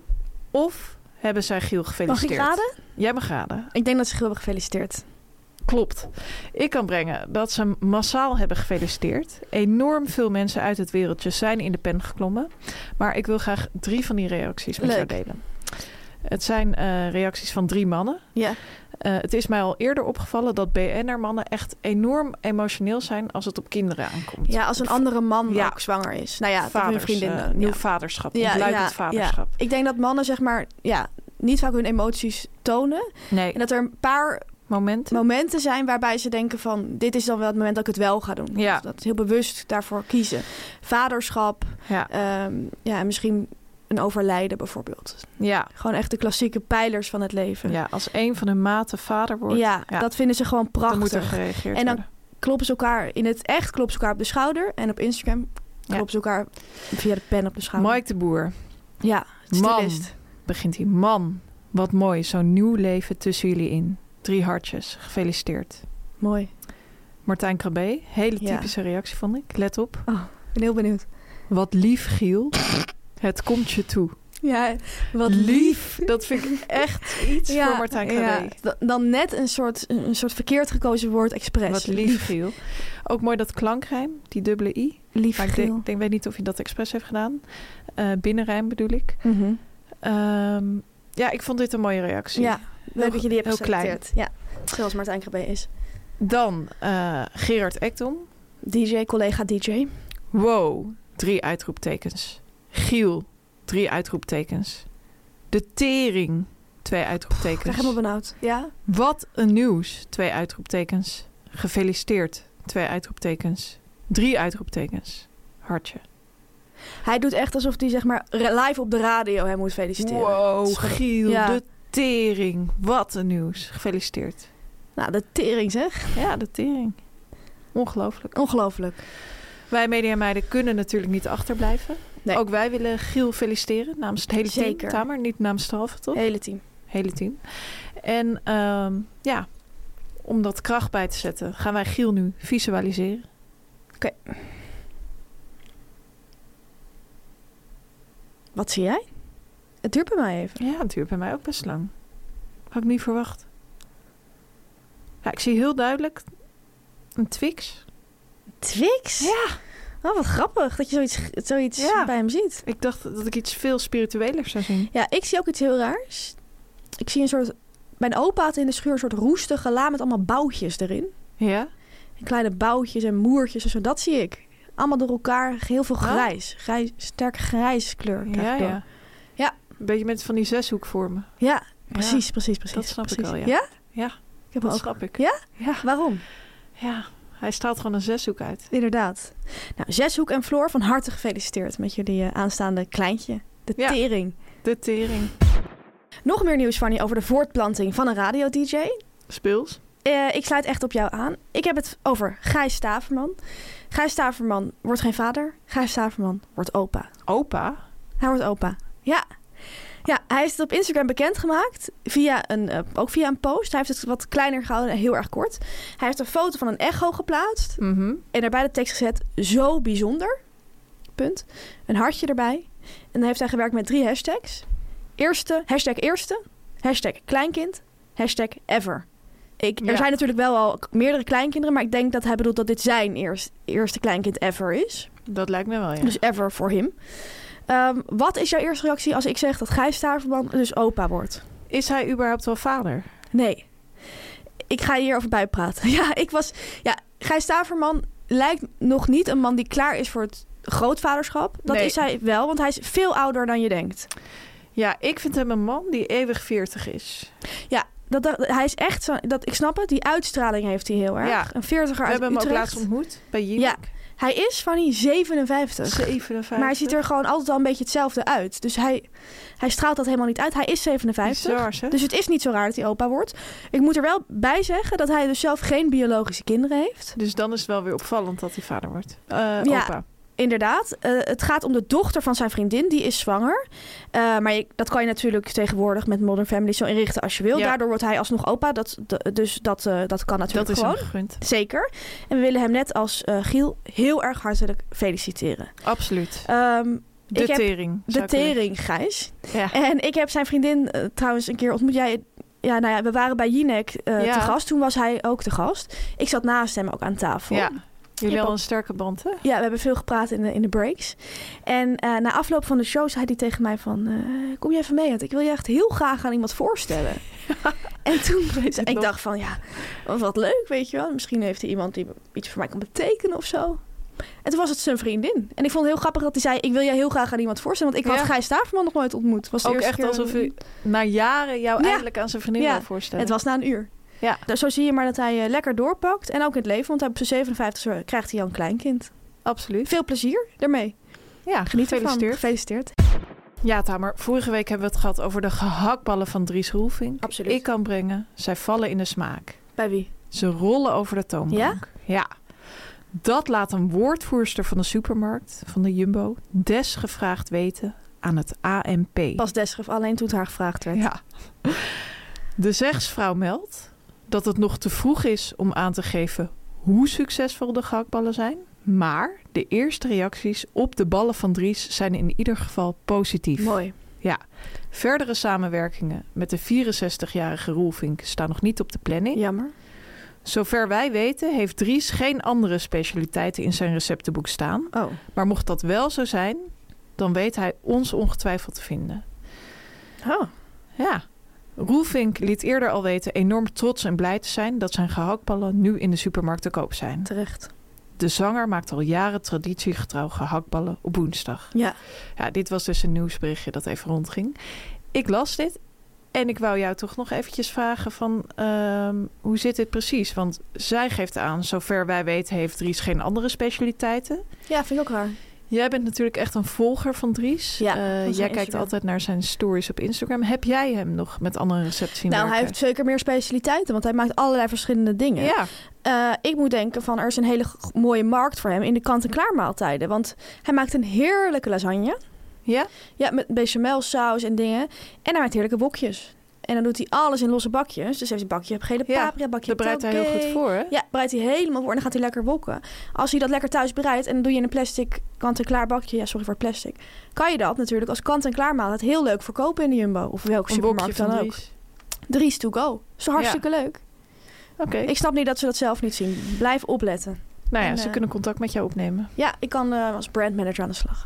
E: Of hebben zij Giel
D: Mag ik
E: gefeliciteerd?
D: raden?
E: Jij mag raden.
D: Ik denk dat ze hebben gefeliciteerd.
E: Klopt. Ik kan brengen dat ze hem massaal hebben gefeliciteerd. Enorm veel mensen uit het wereldje zijn in de pen geklommen. Maar ik wil graag drie van die reacties met jou
D: Leuk.
E: delen. Het zijn eh, reacties van drie mannen.
D: Ja.
E: Eh, het is mij al eerder opgevallen dat BN'er-mannen echt enorm emotioneel zijn als het op kinderen aankomt.
D: Ja, als een andere man
E: Ja.
D: ook zwanger is. Nou ja, dat hun
E: Vaders,
D: vriendin.
E: eh,
D: dan.
E: nieuw
D: Ja.
E: vaderschap,
D: Ja, ja,
E: ontluikend vaderschap.
D: Ik denk dat mannen zeg maar, ja, niet vaak hun emoties tonen.
E: Nee,
D: En dat er een paar
E: momenten.
D: momenten zijn waarbij ze denken van... dit is dan wel het moment dat ik het wel ga doen.
E: Ja.
D: Dus dat ze heel bewust daarvoor kiezen. Vaderschap,
E: Ja,
D: ehm, ja, en misschien een overlijden bijvoorbeeld.
E: ja,
D: Gewoon echt de klassieke pijlers van het leven.
E: ja, als een van hun maten vader wordt,
D: Ja,
E: Ja.
D: dat vinden ze gewoon
E: dan moet er
D: prachtig.
E: gereageerd
D: En dan
E: worden.
D: Kloppen ze elkaar in het echt, kloppen ze elkaar op de schouder. En op Instagram kloppen ze elkaar via de pen op de schouder.
E: Mike de Boer,
D: Ja, het
E: Man.
D: stylist.
E: begint hij. Man, wat mooi, zo'n nieuw leven tussen jullie in. Drie hartjes, gefeliciteerd.
D: Mooi.
E: Martijn Krabbe, hele
D: Ja.
E: typische reactie vond ik. Let op.
D: Ik ben heel benieuwd.
E: Wat lief, Giel. Het komt je toe.
D: Ja, wat
E: Dat vind ik echt iets
D: Ja,
E: voor Martijn
D: ja.
E: Krabbe.
D: Da- Dan net een soort, een soort verkeerd gekozen woord expres.
E: Wat lief, Giel. Ook mooi dat klankrijm, die dubbele i.
D: Lief
E: Maar ik
D: geel.
E: denk, denk, weet niet of je dat expres heeft gedaan. Eh binnenrijm bedoel ik.
D: Mhm.
E: Ehm, ja, ik vond dit een mooie reactie.
D: Ja, leuk dat je die hebt
E: heel klein.
D: geselecteerd. Ja, zoals Martijn Krabbe is.
E: Dan eh, Gerard Ekdom.
D: DJ, collega DJ.
E: Wow, drie uitroeptekens. Giel, drie uitroeptekens. De tering, twee
D: Ik krijg
E: uitroeptekens.
D: helemaal benauwd. Ja?
E: Wat een nieuws, twee uitroeptekens. Gefeliciteerd, twee uitroeptekens. Drie uitroeptekens. Hartje.
D: Hij doet echt alsof hij zeg maar re- live op de radio hem moet feliciteren.
E: Wow,
D: Dat is-
E: Giel,
D: Ja.
E: de tering. Wat een nieuws. Gefeliciteerd.
D: Nou, de tering zeg.
E: Ja, de tering. Ongelooflijk.
D: Ongelooflijk.
E: Wij media meiden kunnen natuurlijk niet achterblijven.
D: Nee.
E: Ook wij willen Giel feliciteren namens het hele team.
D: Zeker.
E: Tamer, niet namens de halve, toch?
D: Hele team.
E: hele team. En ehm, ja, om dat kracht bij te zetten, gaan wij Giel nu visualiseren.
D: Wat zie jij? Het duurt bij mij even.
E: Ja, het duurt bij mij ook best lang. Had ik niet verwacht. Ja, ik zie heel duidelijk een Twix.
D: Twix? Ja. Oh, wat grappig dat je zoiets, zoiets
E: Ja.
D: bij hem ziet.
E: Ik dacht dat ik iets veel spirituelers zou zien.
D: Ja, ik zie ook iets heel raars. Ik zie een soort... Mijn opa had in de schuur een soort roestige la met allemaal boutjes erin.
E: Ja?
D: En kleine boutjes en moertjes en zo, dat zie ik. Allemaal door elkaar, heel veel
E: Ja?
D: grijs. grijs sterk grijs kleur. krijg
E: Ja,
D: ik door.
E: ja.
D: Ja.
E: Een beetje met van die zeshoekvormen.
D: ja precies, precies, precies.
E: dat snap ik
D: precies.
E: wel, ja. Ja,
D: Ik heb hem
E: Dat
D: ook.
E: snap ik.
D: Ja?
E: Ja.
D: Waarom?
E: Ja. Hij straalt gewoon een zeshoek uit.
D: Inderdaad. Nou, Zeshoek en Floor, van harte gefeliciteerd met jullie eh, aanstaande kleintje. De
E: Ja.
D: tering.
E: De tering.
D: Nog meer nieuws, Fanny, over de voortplanting van een radio-dj.
E: Speels.
D: Eh, ik sluit echt op jou aan. Ik heb het over Gijs Staverman. Gijs Staverman wordt geen vader. Gijs Staverman wordt opa.
E: Opa.
D: Hij wordt opa. Ja. Ja, hij heeft het op Instagram bekendgemaakt. Via een, eh, ook via een post. Hij heeft het wat kleiner gehouden en heel erg kort. Hij heeft een foto van een echo geplaatst.
E: Mhm.
D: En daarbij de tekst gezet, zo bijzonder. Punt. Een hartje erbij. En dan heeft hij gewerkt met drie hashtags. Eerste, hashtag eerste. Hashtag kleinkind. Hashtag ever. Ik, er
E: Ja.
D: zijn natuurlijk wel al k- meerdere kleinkinderen. Maar ik denk dat hij bedoelt dat dit zijn eerst, eerste kleinkind ever is.
E: Dat lijkt me wel, ja.
D: Dus ever voor hem. Ehm, wat is jouw eerste reactie als ik zeg dat Gijs Staverman dus opa wordt?
E: Is hij überhaupt wel vader?
D: Nee. Ik ga hierover bijpraten. Ja, ik was. Ja, Gijs Staverman lijkt nog niet een man die klaar is voor het grootvaderschap. Dat
E: Nee.
D: is hij wel, want hij is veel ouder dan je denkt.
E: Ja, ik vind hem een man die eeuwig 40 is.
D: Ja, dat, dat- hij is echt zo. Dat, ik snap het, die uitstraling heeft hij heel erg.
E: Ja.
D: Een veertiger uit
E: We hebben hem ook
D: Utrecht.
E: laatst ontmoet bij Jinek.
D: Ja, hij is van die 57.
E: 57.
D: Maar hij ziet er gewoon altijd al een beetje hetzelfde uit. Dus hij, hij straalt dat helemaal niet uit. Hij is 57.
E: Bizar, hè?
D: Dus het is niet zo raar dat hij opa wordt. Ik moet er wel bij zeggen dat hij dus zelf geen biologische kinderen heeft.
E: Dus dan is het wel weer opvallend dat hij vader wordt. Eh,
D: Ja.
E: Opa.
D: Inderdaad, eh, het gaat om de dochter van zijn vriendin, die is zwanger. Eh, maar je- dat kan je natuurlijk tegenwoordig met Modern Family zo inrichten als je wil.
E: Ja.
D: Daardoor wordt hij alsnog opa, dat, d- dus dat, eh, dat kan natuurlijk
E: Dat is
D: gewoon.
E: hem gegund.
D: Zeker. En we willen hem net als eh, Giel heel erg hartelijk feliciteren.
E: Absoluut.
D: Ehm,
E: De
D: ik heb
E: tering. zou
D: de
E: ik willen.
D: tering, Gijs.
E: Ja.
D: En ik heb zijn vriendin eh, trouwens een keer ontmoet. Jij, ja, nou ja, we waren bij Jinek eh,
E: Ja.
D: te gast. Toen was hij ook te gast. Ik zat naast hem ook aan tafel.
E: ja.
D: Ik
E: Jullie
D: heb
E: al
D: ook-
E: een sterke band, hè?
D: Ja, we hebben veel gepraat in de, in de breaks. En eh, na afloop van de show zei hij tegen mij van... eh, kom je even mee, want ik wil je echt heel graag aan iemand voorstellen. en toen
E: Weet ik
D: ik
E: nog.
D: dacht van, ja, wat, wat leuk, weet je wel. Misschien heeft hij iemand die iets voor mij kan betekenen of zo. En toen was het zijn vriendin. En ik vond het heel grappig dat hij zei... ik wil jij heel graag aan iemand voorstellen. Want ik had
E: Ja.
D: Gijs Staverman nog nooit ontmoet. Was de
E: Ook
D: eerste
E: echt
D: keer-
E: alsof u na jaren jou
D: Ja.
E: eindelijk aan zijn vriendin
D: Ja.
E: wil voorstellen.
D: Het was na een uur.
E: Ja.
D: Dus zo zie je maar dat hij eh, lekker doorpakt. En ook in het leven, want hij op zijn 57 e krijgt hij al een kleinkind.
E: Absoluut.
D: Veel plezier daarmee.
E: Ja,
D: Geniet ervan.
E: gefeliciteerd.
D: Gefeliciteerd.
E: Ja, Tamer, vorige week hebben we het gehad over de gehaktballen van Dries Roelvink.
D: Absoluut.
E: Ik kan brengen, zij vallen in de smaak.
D: Bij wie?
E: Ze rollen over de toonbank. Ja? Dat laat een woordvoerster van de supermarkt, van de Jumbo, desgevraagd weten aan het ANP.
D: Pas Deschef, alleen toen het haar gevraagd werd.
E: Ja. De zegsvrouw meldt dat het nog te vroeg is om aan te geven hoe succesvol de gehaktballen zijn. Maar de eerste reacties op de ballen van Dries zijn in ieder geval positief.
D: Mooi.
E: Ja. Verdere samenwerkingen met de 64-jarige Roelvink staan nog niet op de planning.
D: Jammer.
E: Zover wij weten heeft Dries geen andere specialiteiten in zijn receptenboek staan.
D: Oh,
E: Maar mocht dat wel zo zijn, dan weet hij ons ongetwijfeld te vinden.
D: Oh.
E: Ja. Roelvink liet eerder al weten enorm trots en blij te zijn dat zijn gehaktballen nu in de supermarkt te koop zijn.
D: terecht.
E: De zanger maakt al jaren traditiegetrouw gehaktballen op woensdag.
D: Ja.
E: Ja, dit was dus een nieuwsberichtje dat even rondging. Ik las dit En ik wou jou toch nog eventjes vragen van ehm, hoe zit dit precies? Want zij geeft aan, zover wij weten heeft Dries geen andere specialiteiten.
D: Ja, vind ik ook raar.
E: Jij bent natuurlijk echt een volger van Dries.
D: Ja,
E: Eh,
D: van zijn
E: jij kijkt
D: Instagram.
E: altijd naar zijn stories op Instagram. Heb jij hem nog met andere recepten zien
D: Nou, hij
E: werken?
D: heeft zeker meer specialiteiten, want hij maakt allerlei verschillende dingen.
E: Ja,
D: Eh, ik moet denken van er is een hele g- mooie markt voor hem in de kant-en-klaar maaltijden. Want hij maakt een heerlijke lasagne.
E: ja.
D: Ja, met bechamel, saus en dingen. En hij maakt heerlijke wokjes. En dan doet hij alles in losse bakjes. Dus heeft hij een bakje gele
E: Ja,
D: paprika, bakje
E: Daar bereidt hij heel
D: taugé.
E: goed voor, hè?
D: Ja, breidt hij helemaal voor en dan gaat hij lekker wokken. Als hij dat lekker thuis bereidt en dan doe je in een plastic kant-en-klaar bakje, ja sorry voor het plastic, kan je dat natuurlijk als kant-en-klaar maaltijd heel leuk verkopen in de Jumbo of welke
E: Een bokje
D: supermarkt
E: van
D: dan ook.
E: Dries.
D: Dries to go. Is toch hartstikke leuk.
E: Oké.
D: Ik snap niet dat ze dat zelf niet zien. Blijf opletten.
E: Nou ja,
D: En,
E: ze
D: eh,
E: kunnen contact met jou opnemen.
D: Ja, ik kan eh, als brandmanager aan de slag.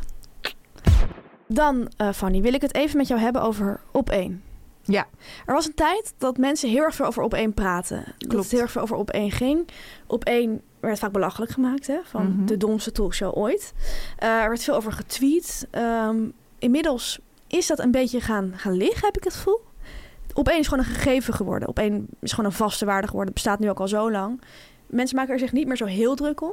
D: Dan, eh, Fanny, wil ik het even met jou hebben over op één.
E: Ja.
D: Er was een tijd dat mensen heel erg veel over op één praten. Dat
E: Klopt.
D: het heel erg veel over op één ging. Op één werd vaak belachelijk gemaakt, hè? Van
E: Mhm.
D: de domste talkshow ooit. Eh, er werd veel over getweet. Ehm, inmiddels is dat een beetje gaan, gaan liggen, heb ik het gevoel. Op één is gewoon een gegeven geworden. Op één is gewoon een vaste waarde geworden. Het bestaat nu ook al zo lang. Mensen maken er zich niet meer zo heel druk om.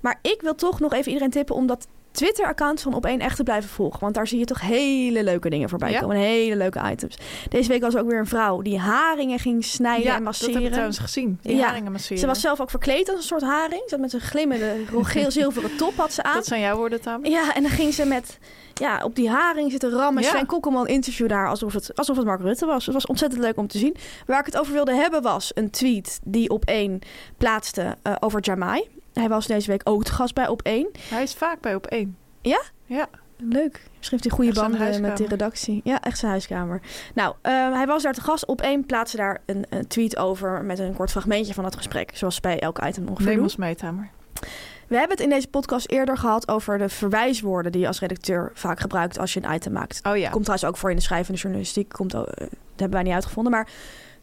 D: Maar ik wil toch nog even iedereen tippen om dat Twitter-account van Opeen echt te blijven volgen. Want daar zie je toch hele leuke dingen voorbij
E: Ja.
D: komen. Hele leuke items. Deze week was er ook weer een vrouw die haringen ging snijden en
E: dat heb ik
D: masseren.
E: trouwens gezien. Die
D: Ja.
E: haringen masseren.
D: Ze was zelf ook verkleed als een soort haring. Ze had met een glimmende geel-zilveren top had ze aan.
E: Dat zijn jouw woorden, Tamer.
D: Ja, en dan ging ze met, ja, op die haring zitten rammen.
E: Ja.
D: Sven Kokkelman interviewde haar alsof het, alsof het Mark Rutte was. Het was ontzettend leuk om te zien. Waar ik het over wilde hebben was een tweet die op één plaatste eh, over Jamai. Hij was deze week ook te gast bij op één.
E: Hij is vaak bij op één.
D: Leuk. Schreef hij goede
E: Echt
D: banden eh,
E: zijn
D: met die
E: huiskamer.
D: redactie. Ja, echt zijn huiskamer. Nou, eh, hij was daar te gast. Op één plaatste daar een, een tweet over met een kort fragmentje van dat gesprek. Zoals ze bij elk item ongeveer
E: Neem
D: doen.
E: ons mee, Tamer.
D: We hebben het in deze podcast eerder gehad over de verwijswoorden die je als redacteur vaak gebruikt als je een item maakt.
E: Oh ja.
D: Komt trouwens ook voor in de schrijvende journalistiek. Komt, ook- eh, dat hebben wij niet uitgevonden. Maar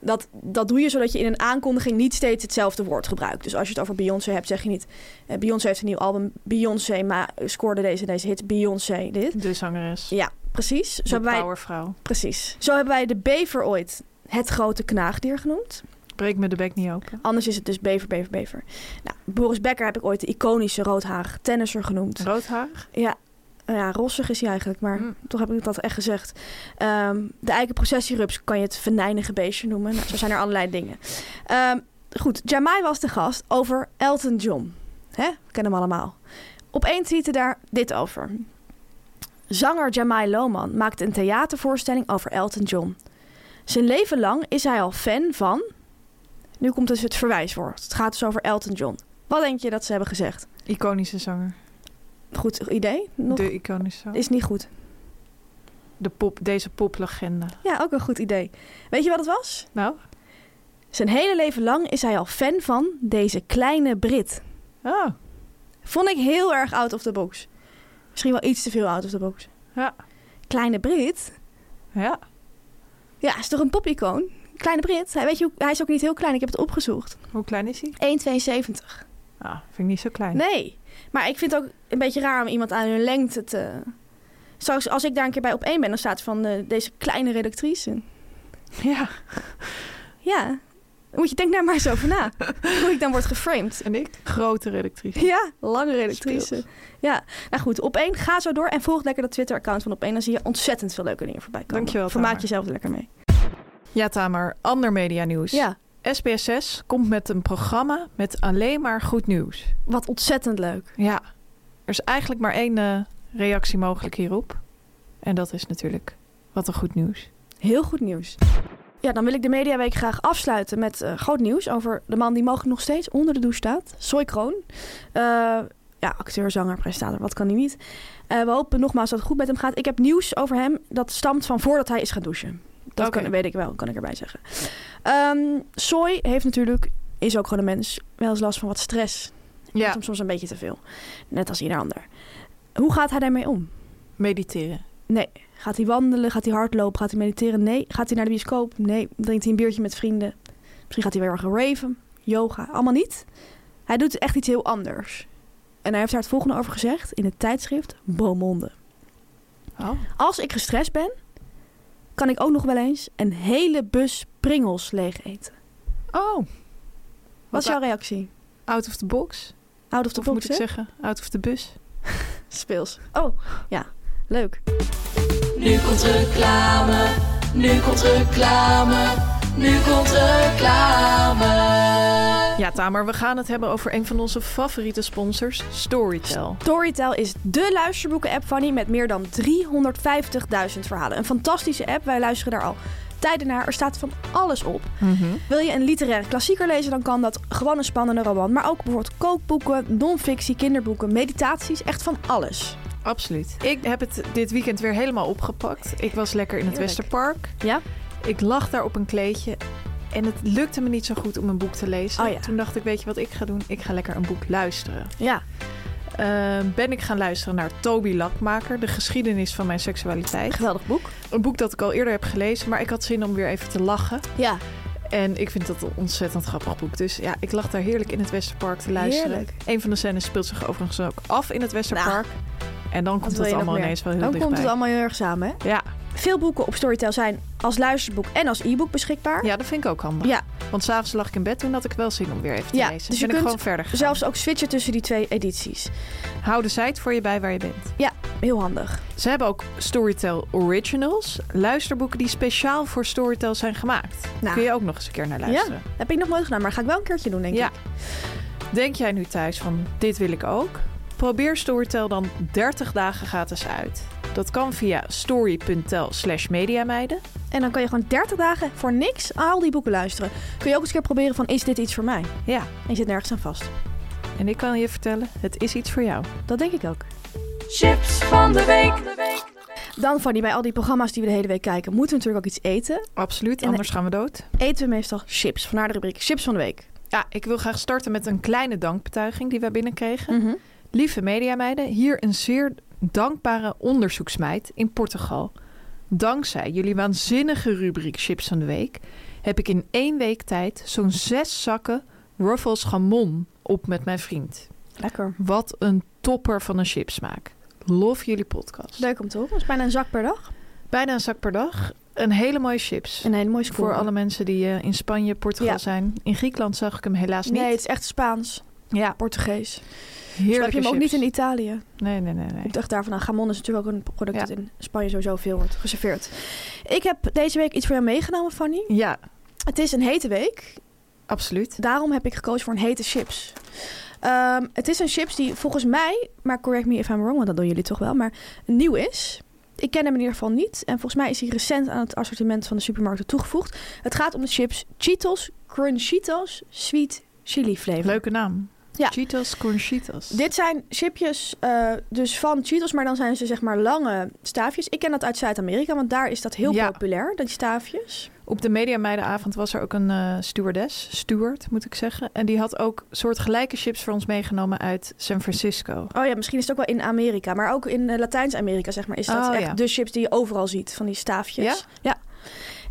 D: dat, dat doe je zodat je in een aankondiging niet steeds hetzelfde woord gebruikt. Dus als je het over Beyoncé hebt, zeg je niet... eh, Beyoncé heeft een nieuw album. Beyoncé ma- scoorde deze, deze hit. Beyoncé dit.
E: De zangeres.
D: Ja, precies. Zo
E: de
D: hebben, wij,
E: powervrouw.
D: precies. Zo hebben wij de bever ooit het grote knaagdier genoemd.
E: Breek me de bek niet open.
D: Anders is het dus bever, bever, bever. Nou, Boris Becker heb ik ooit de iconische roodhaag tennisser genoemd.
E: Roodhaar.
D: Ja, nou ja, rossig is hij eigenlijk, maar
E: Mm.
D: toch heb ik dat echt gezegd. Ehm, de eikenprocessierups kan je het venijnige beestje noemen. Nou, zo zijn er allerlei dingen. Ehm, goed, Jamai was de gast over Elton John. Hè? We kennen hem allemaal. Op één tweette daar dit over. Zanger Jamai Lohman maakt een theatervoorstelling over Elton John. Zijn leven lang is hij al fan van... Nu komt dus het verwijswoord. Het gaat dus over Elton John. Wat denk je dat ze hebben gezegd?
E: Iconische zanger.
D: Goed idee? Nog?
E: De iconische zanger.
D: Is niet goed.
E: De pop, deze poplegende.
D: Ja, ook een goed idee. Weet je wat het was?
E: Nou?
D: Zijn hele leven lang is hij al fan van deze kleine Brit.
E: Oh,
D: Vond ik heel erg out of the box. Misschien wel iets te veel out of the box.
E: Ja.
D: Kleine Brit?
E: ja.
D: Ja, is toch een popicoon? Kleine Brit. Hij, weet je, hoe- hij is ook niet heel klein. Ik heb het opgezocht.
E: Hoe klein is hij?
D: 1,72.
E: Ah, vind ik niet zo klein.
D: Nee. Maar ik vind het ook een beetje raar om iemand aan hun lengte te... Zoals als ik daar een keer bij op één ben, dan staat van eh, deze kleine redactrice.
E: Ja.
D: Ja. Dan Moet je denk daar maar eens over na. Hoe ik dan word geframed.
E: En ik? Grote redactrice.
D: Ja, lange redactrice. Ja, nou goed, op één ga zo door en volg lekker dat Twitter-account van op één. Dan zie je ontzettend veel leuke dingen voorbij komen.
E: Dankjewel,
D: Vermaak
E: Tamar.
D: jezelf er lekker mee.
E: Ja, Tamer. Ander media nieuws.
D: Ja,
E: SBS6 komt met een programma met alleen maar goed nieuws.
D: wat ontzettend leuk.
E: Ja, er is eigenlijk maar één eh, reactie mogelijk hierop. En dat is natuurlijk wat een goed nieuws.
D: Heel goed nieuws. Ja, dan wil ik de Mediaweek graag afsluiten met eh, groot nieuws over de man die mogelijk nog steeds onder de douche staat. Soy Kroon. Eh, ja, acteur, zanger, presentator, wat kan hij niet. Eh, we hopen nogmaals dat het goed met hem gaat. Ik heb nieuws over hem dat stamt van voordat hij is gaan douchen. Dat
E: Oké.
D: kan, weet ik wel, kan ik erbij zeggen. Ehm Soy heeft natuurlijk, is ook gewoon een mens, wel eens last van wat stress. Ja.
E: Ja,
D: Soms een beetje te veel. Net als ieder ander. Hoe gaat hij daarmee om?
E: mediteren.
D: Gaat hij wandelen? Gaat hij hardlopen? Gaat hij mediteren? Nee. Gaat hij naar de bioscoop? Nee. Drinkt hij een biertje met vrienden? Misschien gaat hij weer gaan raven. Yoga. Allemaal niet. Hij doet echt iets heel anders. En hij heeft daar het volgende over gezegd in het tijdschrift Beaumonde.
E: Oh.
D: Als ik gestrest ben, kan ik ook nog wel eens een hele bus pringels leeg eten.
E: Oh,
D: Wat is
E: Wat-
D: jouw reactie?
E: out of the box.
D: Out of the
E: Of
D: box,
E: moet ik
D: hè?
E: zeggen, out of the bus.
D: Speels. Oh, ja. Leuk.
F: Nu komt reclame, nu komt reclame, nu komt reclame.
E: Ja, Tamer, we gaan het hebben over een van onze favoriete sponsors, Storytel.
D: Storytel is dé luisterboeken-app, Fanny, met meer dan 350.000 verhalen. Een fantastische app, wij luisteren daar al tijden naar. Er staat van alles op. Wil je een literaire klassieker lezen, dan kan dat gewoon een spannende roman. Maar ook bijvoorbeeld kookboeken, non-fictie, kinderboeken, meditaties, echt van alles.
E: Absoluut. Ik heb het dit weekend weer helemaal opgepakt. Ik was lekker in het
D: Heerlijk.
E: Westerpark.
D: Ja?
E: Ik lag daar op een kleedje en het lukte me niet zo goed om een boek te lezen.
D: Oh ja.
E: Toen dacht ik, weet je wat ik ga doen? Ik ga lekker een boek luisteren.
D: Ja.
E: Ehm, ben ik gaan luisteren naar Toby Lakmaker, De geschiedenis van mijn seksualiteit.
D: Geweldig boek.
E: Een boek dat ik al eerder heb gelezen, maar ik had zin om weer even te lachen.
D: Ja.
E: En ik vind dat een ontzettend grappig boek. Dus ja, ik lag daar heerlijk in het Westerpark te luisteren.
D: Heerlijk. Nou,
E: Een van de scènes speelt zich overigens ook af in het Westerpark. en dan komt
D: wil
E: het
D: je nog
E: allemaal
D: meer?
E: ineens wel heel
D: Dan
E: dichtbij.
D: komt het allemaal heel erg samen, hè?
E: Ja.
D: Veel boeken op Storytel zijn als luisterboek en als e-book beschikbaar.
E: ja, dat vind ik ook handig.
D: Ja.
E: Want s'avonds lag ik in bed, toen had ik wel zin om weer even te
D: Ja,
E: lezen.
D: dus je
E: ben ik
D: kunt
E: gewoon verder gegaan.
D: Zelfs ook switchen tussen die twee edities.
E: Hou de site voor je bij waar je bent.
D: Heel handig.
E: Ze hebben ook Storytel Originals. Luisterboeken die speciaal voor Storytel zijn gemaakt.
D: Nou.
E: Kun je ook nog eens een keer naar luisteren.
D: Heb ik nog nooit gedaan, maar ga ik wel een keertje doen, denk
E: Ja.
D: ik.
E: Denk jij nu thuis van dit wil ik ook? Probeer Storytel dan 30 dagen gratis uit. Dat kan via story.tel slash mediameiden.
D: En dan kan je gewoon 30 dagen voor niks al die boeken luisteren. Kun je ook eens een keer proberen van, is dit iets voor mij?
E: Ja,
D: En je zit nergens aan vast.
E: en ik kan je vertellen, het is iets voor jou.
D: Dat denk ik ook.
F: Chips van de week.
D: Dan, Fanny, bij al die programma's die we de hele week kijken, moeten we natuurlijk ook iets eten.
E: Absoluut,
D: En-
E: anders gaan we dood.
D: Eten we meestal chips. Vandaar de rubriek Chips van de Week.
E: Ja, ik wil graag starten met een kleine dankbetuiging die we binnenkregen.
D: Mhm.
E: Lieve mediameiden, hier een zeer dankbare onderzoeksmeid in Portugal. Dankzij jullie waanzinnige rubriek Chips van de Week heb ik in één week tijd zo'n zes zakken Ruffles Gamon op met mijn vriend.
D: Lekker.
E: Wat een topper van een chipsmaak. Lof jullie podcast.
D: Leuk om te horen. Dat is bijna een zak per dag.
E: Bijna een zak per dag. Een hele mooie chips.
D: En een hele mooie score.
E: Voor alle mensen die eh, in Spanje, Portugal
D: Ja.
E: zijn. In Griekenland zag ik hem helaas niet.
D: Nee, het is echt Spaans.
E: ja,
D: Portugees. Heerlijke
E: heerlijke
D: heb je hem ook
E: chips.
D: niet in Italië.
E: Nee, nee, nee. nee.
D: Komt echt daarvan aan. Gamon is natuurlijk ook een product
E: Ja.
D: dat in Spanje sowieso veel wordt geserveerd. Ik heb deze week iets voor jou meegenomen, Fanny.
E: Ja,
D: Het is een hete week.
E: absoluut.
D: Daarom heb ik gekozen voor een hete chips. Ehm, het is een chips die volgens mij, maar correct me if I'm wrong, want dat doen jullie toch wel, maar nieuw is. Ik ken hem in ieder geval niet. En volgens mij is hij recent aan het assortiment van de supermarkten toegevoegd. Het gaat om de chips Cheetos Crunchitos Sweet Chili Flavor.
E: Leuke naam.
D: Ja.
E: Cheetos Conchitas.
D: Dit zijn chipjes eh, dus van Cheetos, maar dan zijn ze zeg maar lange staafjes. Ik ken dat uit Zuid-Amerika, want daar is dat heel
E: Ja.
D: populair, die staafjes.
E: Op de Mediameidenavond was er ook een eh, stewardess. Steward, moet ik zeggen. En die had ook soortgelijke chips voor ons meegenomen uit San Francisco.
D: Oh ja, misschien is het ook wel in Amerika, maar ook in eh, Latijns-Amerika zeg maar is dat
E: Oh,
D: echt
E: ja.
D: de chips die je overal ziet, van die staafjes.
E: Ja?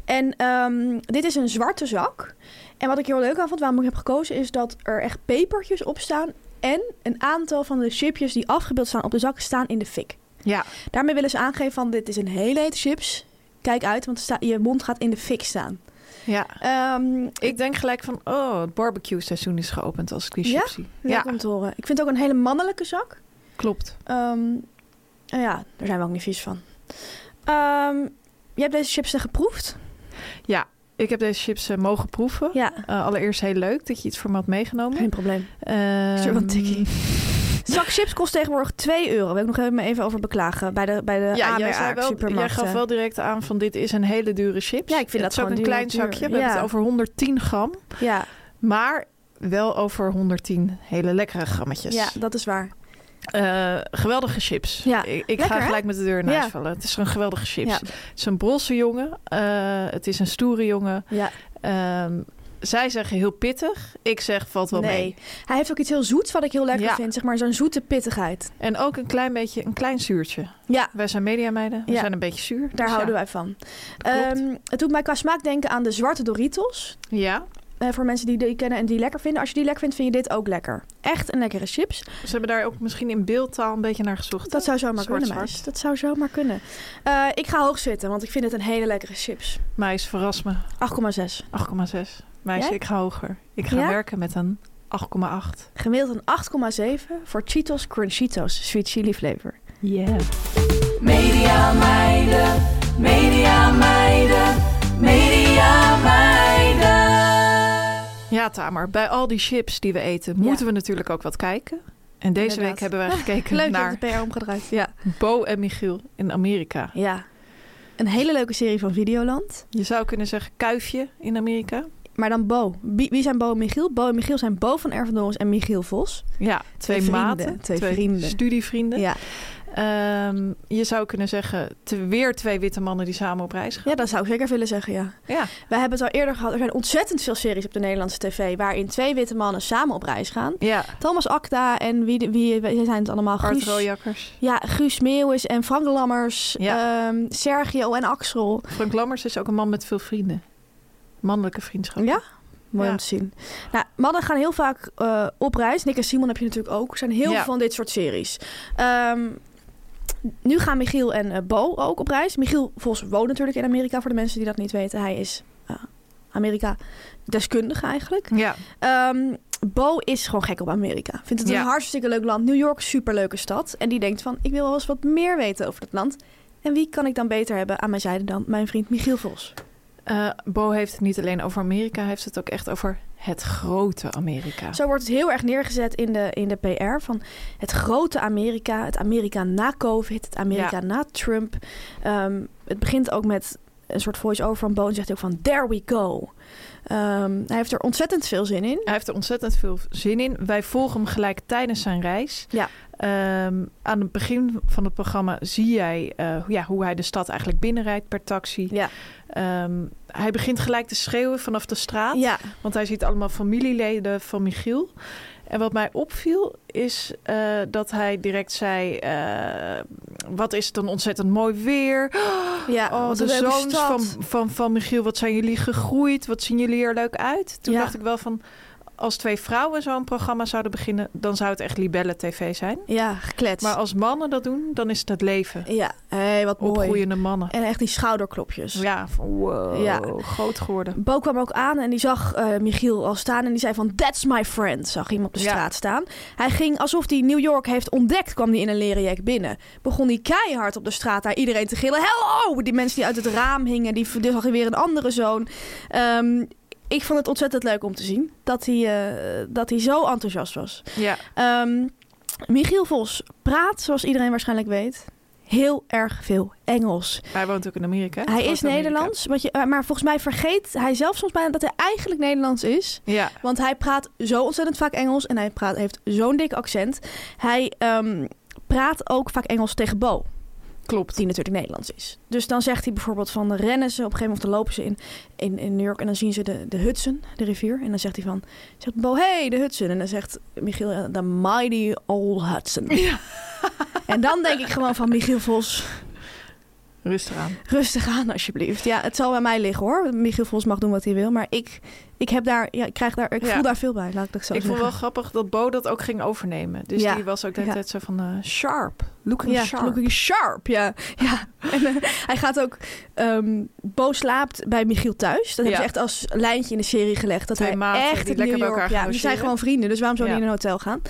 D: En ehm, dit is een zwarte zak. En wat ik heel leuk aan vond, waarom ik heb gekozen, is dat er echt pepertjes op staan. En een aantal van de chipjes die afgebeeld staan op de zak staan in de fik.
E: Ja.
D: Daarmee willen ze aangeven van dit is een hele hete chips. Kijk uit, want sta- je mond gaat in de fik staan.
E: ja.
D: Ehm,
E: Ik denk gelijk van, oh, het barbecue seizoen is geopend als ik die
D: Ja?
E: chips zie.
D: leuk
E: Ja,
D: om te horen. Ik vind het ook een hele mannelijke zak.
E: klopt.
D: Ehm, nou ja, daar zijn we ook niet vies van. Ehm, je hebt deze chips geproefd?
E: Ik heb deze chips eh, mogen proeven.
D: Ja,
E: Eh, allereerst heel leuk dat je iets voor me had meegenomen.
D: geen probleem.
E: Ehm,
D: Stuur wel een tikkie. Zak chips kost tegenwoordig 2 euro. Wil ik nog even, me even over beklagen bij de, bij de
E: Ja, jij, zei
D: AMR
E: wel, jij
D: supermarkt.
E: gaf wel direct aan van dit is een hele dure chips.
D: Ja, ik vind
E: het
D: dat
E: is ook
D: gewoon
E: een
D: duur,
E: klein
D: duur.
E: zakje. We
D: Ja.
E: hebben het over 110 gram.
D: Ja,
E: Maar wel over 110 hele lekkere grammetjes.
D: ja, dat is waar.
E: Eh, geweldige chips.
D: Ja,
E: Ik, ik
D: lekker,
E: ga
D: hè?
E: gelijk met de deur in huis
D: Ja.
E: vallen. Het is een geweldige chips.
D: Ja.
E: Het is een brosse jongen. eh, het is een stoere jongen.
D: Ja,
E: Ehm, zij zeggen heel pittig. Ik zeg valt wel
D: nee.
E: mee.
D: Hij heeft ook iets heel zoets wat ik heel lekker
E: Ja.
D: vind. Zeg maar zo'n zoete pittigheid.
E: En ook een klein beetje, een klein zuurtje.
D: Ja,
E: Wij zijn mediameiden. We
D: Ja.
E: zijn een beetje zuur. Dus
D: daar houden wij van.
E: Klopt.
D: Ehm, het doet mij qua smaak denken aan de zwarte Doritos.
E: Ja,
D: eh, voor mensen die die kennen en die lekker vinden. Als je die lekker vindt, vind je dit ook lekker. Echt een lekkere chips.
E: Ze hebben daar ook misschien in beeldtaal een beetje naar gezocht.
D: Dat zou zomaar
E: Zwart,
D: kunnen,
E: zwart.
D: meis. Dat zou zomaar kunnen. Eh, ik ga hoog zitten, want ik vind het een hele lekkere chips. 8,6.
E: Meis, verras me. 8,6. Meisje,
D: Jij?
E: ik ga hoger. Ik ga
D: Ja?
E: werken met een 8,8.
D: Gemiddeld een 8,7 voor Cheetos Crunchitos Sweet Chili Flavor.
E: Yeah.
F: Media meiden, media meiden, media meiden.
E: Ja, Tamer, bij al die chips die we eten, moeten we natuurlijk ook wat kijken. En deze
D: Inderdaad.
E: week hebben wij gekeken
D: Leuk
E: naar
D: dat de PR omgedraaid. Ja.
E: Bo en Michiel in Amerika.
D: ja. Een hele leuke serie van Videoland.
E: Je zou kunnen zeggen kuifje in Amerika.
D: Maar dan Bo. Wie, wie zijn Bo en Michiel? Bo en Michiel zijn Bo van Erfendorens en Michiel Vos.
E: Ja, twee,
D: vrienden,
E: maten,
D: twee vrienden.
E: studievrienden.
D: Ja.
E: Ehm, je zou kunnen zeggen, te- weer twee witte mannen die samen op reis gaan.
D: ja, dat zou ik zeker willen zeggen, ja.
E: Ja.
D: We hebben het al eerder gehad. Er zijn ontzettend veel series op de Nederlandse tv... waarin twee witte mannen samen op reis gaan.
E: ja.
D: Thomas Akda en wie, de- wie, wie zijn het allemaal?
E: Art
D: Guus-
E: Rooijakkers.
D: Ja, Guus Meeuwis en Frank Lammers.
E: Ja.
D: ehm, Sergio en Axel.
E: Frank Lammers is ook een man met veel vrienden. Mannelijke vriendschap.
D: Ja? Mooi
E: Ja.
D: om te zien. Nou, mannen gaan heel vaak eh, op reis. Nick en Simon heb je natuurlijk ook. Er zijn heel
E: Ja.
D: veel van dit soort series. Ehm, nu gaan Michiel en eh, Bo ook op reis. Michiel Vos woont natuurlijk in Amerika. Voor de mensen die dat niet weten. Hij is eh, Amerika-deskundige eigenlijk.
E: Ja.
D: Ehm, Bo is gewoon gek op Amerika. Vindt het
E: Ja.
D: een hartstikke leuk land. New York, superleuke stad. En die denkt van, ik wil wel eens wat meer weten over dat land. En wie kan ik dan beter hebben aan mijn zijde dan mijn vriend Michiel Vos?
E: Eh, Bo heeft het niet alleen over Amerika, hij heeft het ook echt over het grote Amerika.
D: Zo wordt het heel erg neergezet in de, in de PR van het grote Amerika. Het Amerika na COVID, het Amerika na Trump. Ehm, het begint ook met een soort voice-over van Bo. En zegt hij ook van, there we go. Ehm, hij heeft er ontzettend veel zin in.
E: Hij heeft er ontzettend veel zin in. Wij volgen hem gelijk tijdens zijn reis.
D: Ja.
E: Ehm, aan het begin van het programma zie jij eh, ja, hoe hij de stad eigenlijk binnenrijdt per taxi.
D: Ja.
E: Ehm, hij begint gelijk te schreeuwen vanaf de straat.
D: Ja,
E: Want hij ziet allemaal familieleden van Michiel. En wat mij opviel is eh, dat hij direct zei... eh, wat is het een ontzettend mooi weer.
D: ja.
E: Oh,
D: wat
E: de
D: een leuke
E: zoons
D: stad.
E: van, van, van Michiel, wat zijn jullie gegroeid? Wat zien jullie er leuk uit? Toen
D: Ja.
E: dacht ik wel van, als twee vrouwen zo'n programma zouden beginnen... dan zou het echt Libelle TV zijn.
D: Ja, gekletst.
E: Maar als mannen dat doen, dan is het het leven.
D: Ja, hey, wat mooi.
E: Opgroeiende mannen.
D: En echt die schouderklopjes.
E: Ja, van wow,
D: Ja.
E: groot geworden.
D: Bo kwam ook aan en die zag eh, Michiel al staan en die zei van that's my friend, zag hij hem op de
E: Ja.
D: straat staan. Hij ging alsof hij New York heeft ontdekt, kwam hij in een leren jack binnen. Begon hij keihard op de straat daar iedereen te gillen. Hello! Die mensen die uit het raam hingen, die die zag hij weer een andere zoon. Ehm, ik vond het ontzettend leuk om te zien dat hij, eh, dat hij zo enthousiast was.
E: Ja.
D: Ehm, Michiel Vos praat, zoals iedereen waarschijnlijk weet, heel erg veel Engels.
E: Hij woont ook in Amerika. hè?
D: Hij
E: Groot
D: is
E: Amerika.
D: Nederlands, wat je, eh, maar volgens mij vergeet hij zelf soms bijna dat hij eigenlijk Nederlands is.
E: Ja,
D: Want hij praat zo ontzettend vaak Engels en hij praat, heeft zo'n dik accent. Hij ehm, praat ook vaak Engels tegen Bo,
E: klopt.
D: die natuurlijk Nederlands is. Dus dan zegt hij bijvoorbeeld van, dan rennen ze op een gegeven moment, dan lopen ze in, in, in New York en dan zien ze de, de Hudson, de rivier. En dan zegt hij van, zegt Bo, hey, de Hudson. En dan zegt Michiel, eh, the mighty old Hudson. En dan denk ik gewoon van Michiel Vos,
E: Rustig aan.
D: Rustig aan, alsjeblieft. Ja, het zal bij mij liggen hoor. Michiel Vos mag doen wat hij wil. Maar ik, ik, heb daar, ja, ik, krijg daar, ik
E: Ja.
D: voel daar veel bij, laat ik dat zo
E: Ik vond
D: zeggen.
E: wel grappig dat Bo dat ook ging overnemen. Dus
D: Ja.
E: die was ook de hele
D: Ja.
E: tijd zo van eh, sharp. Looking
D: ja,
E: sharp.
D: looking sharp, ja. ja. En, eh, hij gaat ook... ehm Bo slaapt bij Michiel thuis. Dat hebben
E: Ja.
D: ze echt als lijntje in de serie gelegd. Dat
E: Twee
D: hij
E: maten
D: echt
E: die
D: het
E: lekker
D: New
E: bij
D: York...
E: elkaar
D: ja,
E: gaan
D: die zijn
E: logeren.
D: gewoon vrienden. Dus waarom zou
E: Ja.
D: die in een hotel gaan?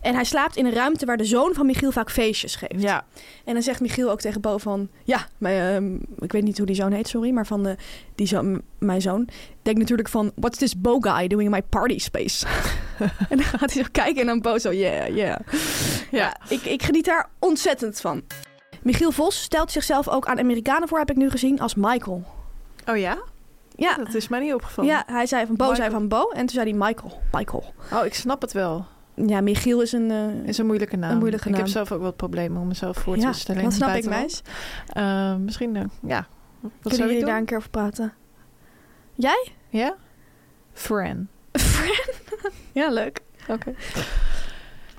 D: En hij slaapt in een ruimte waar de zoon van Michiel vaak feestjes geeft.
E: Ja,
D: En dan zegt Michiel ook tegen Bo van... Ja, mijn, ehm, ik weet niet hoe die zoon heet, sorry. Maar van eh, die zoon, mijn zoon. Denkt natuurlijk van... What's this Bo guy doing in my party space? en dan gaat hij zo kijken en dan Bo zo... Yeah, yeah. Ja, ik, ik geniet daar ontzettend van. Michiel Vos stelt zichzelf ook aan Amerikanen voor, heb ik nu gezien, als Michael.
E: Oh ja?
D: Ja,
E: Dat is mij niet opgevallen.
D: ja hij zei van Bo, zei van Bo. En toen zei hij Michael. Michael.
E: Oh, ik snap het wel.
D: Ja, Michiel is een... eh,
E: Is een moeilijke naam.
D: Een moeilijke
E: Ik
D: naam.
E: heb zelf ook wat problemen om mezelf voor te
D: ja,
E: stellen.
D: dat
E: in
D: snap
E: het
D: ik,
E: buitenland.
D: meis.
E: Eh, misschien, eh, ja. Wat
D: Kunnen
E: zou ik
D: jullie
E: doen?
D: daar een keer over praten?
E: Ja? Fran.
D: ja, leuk.
E: Oké.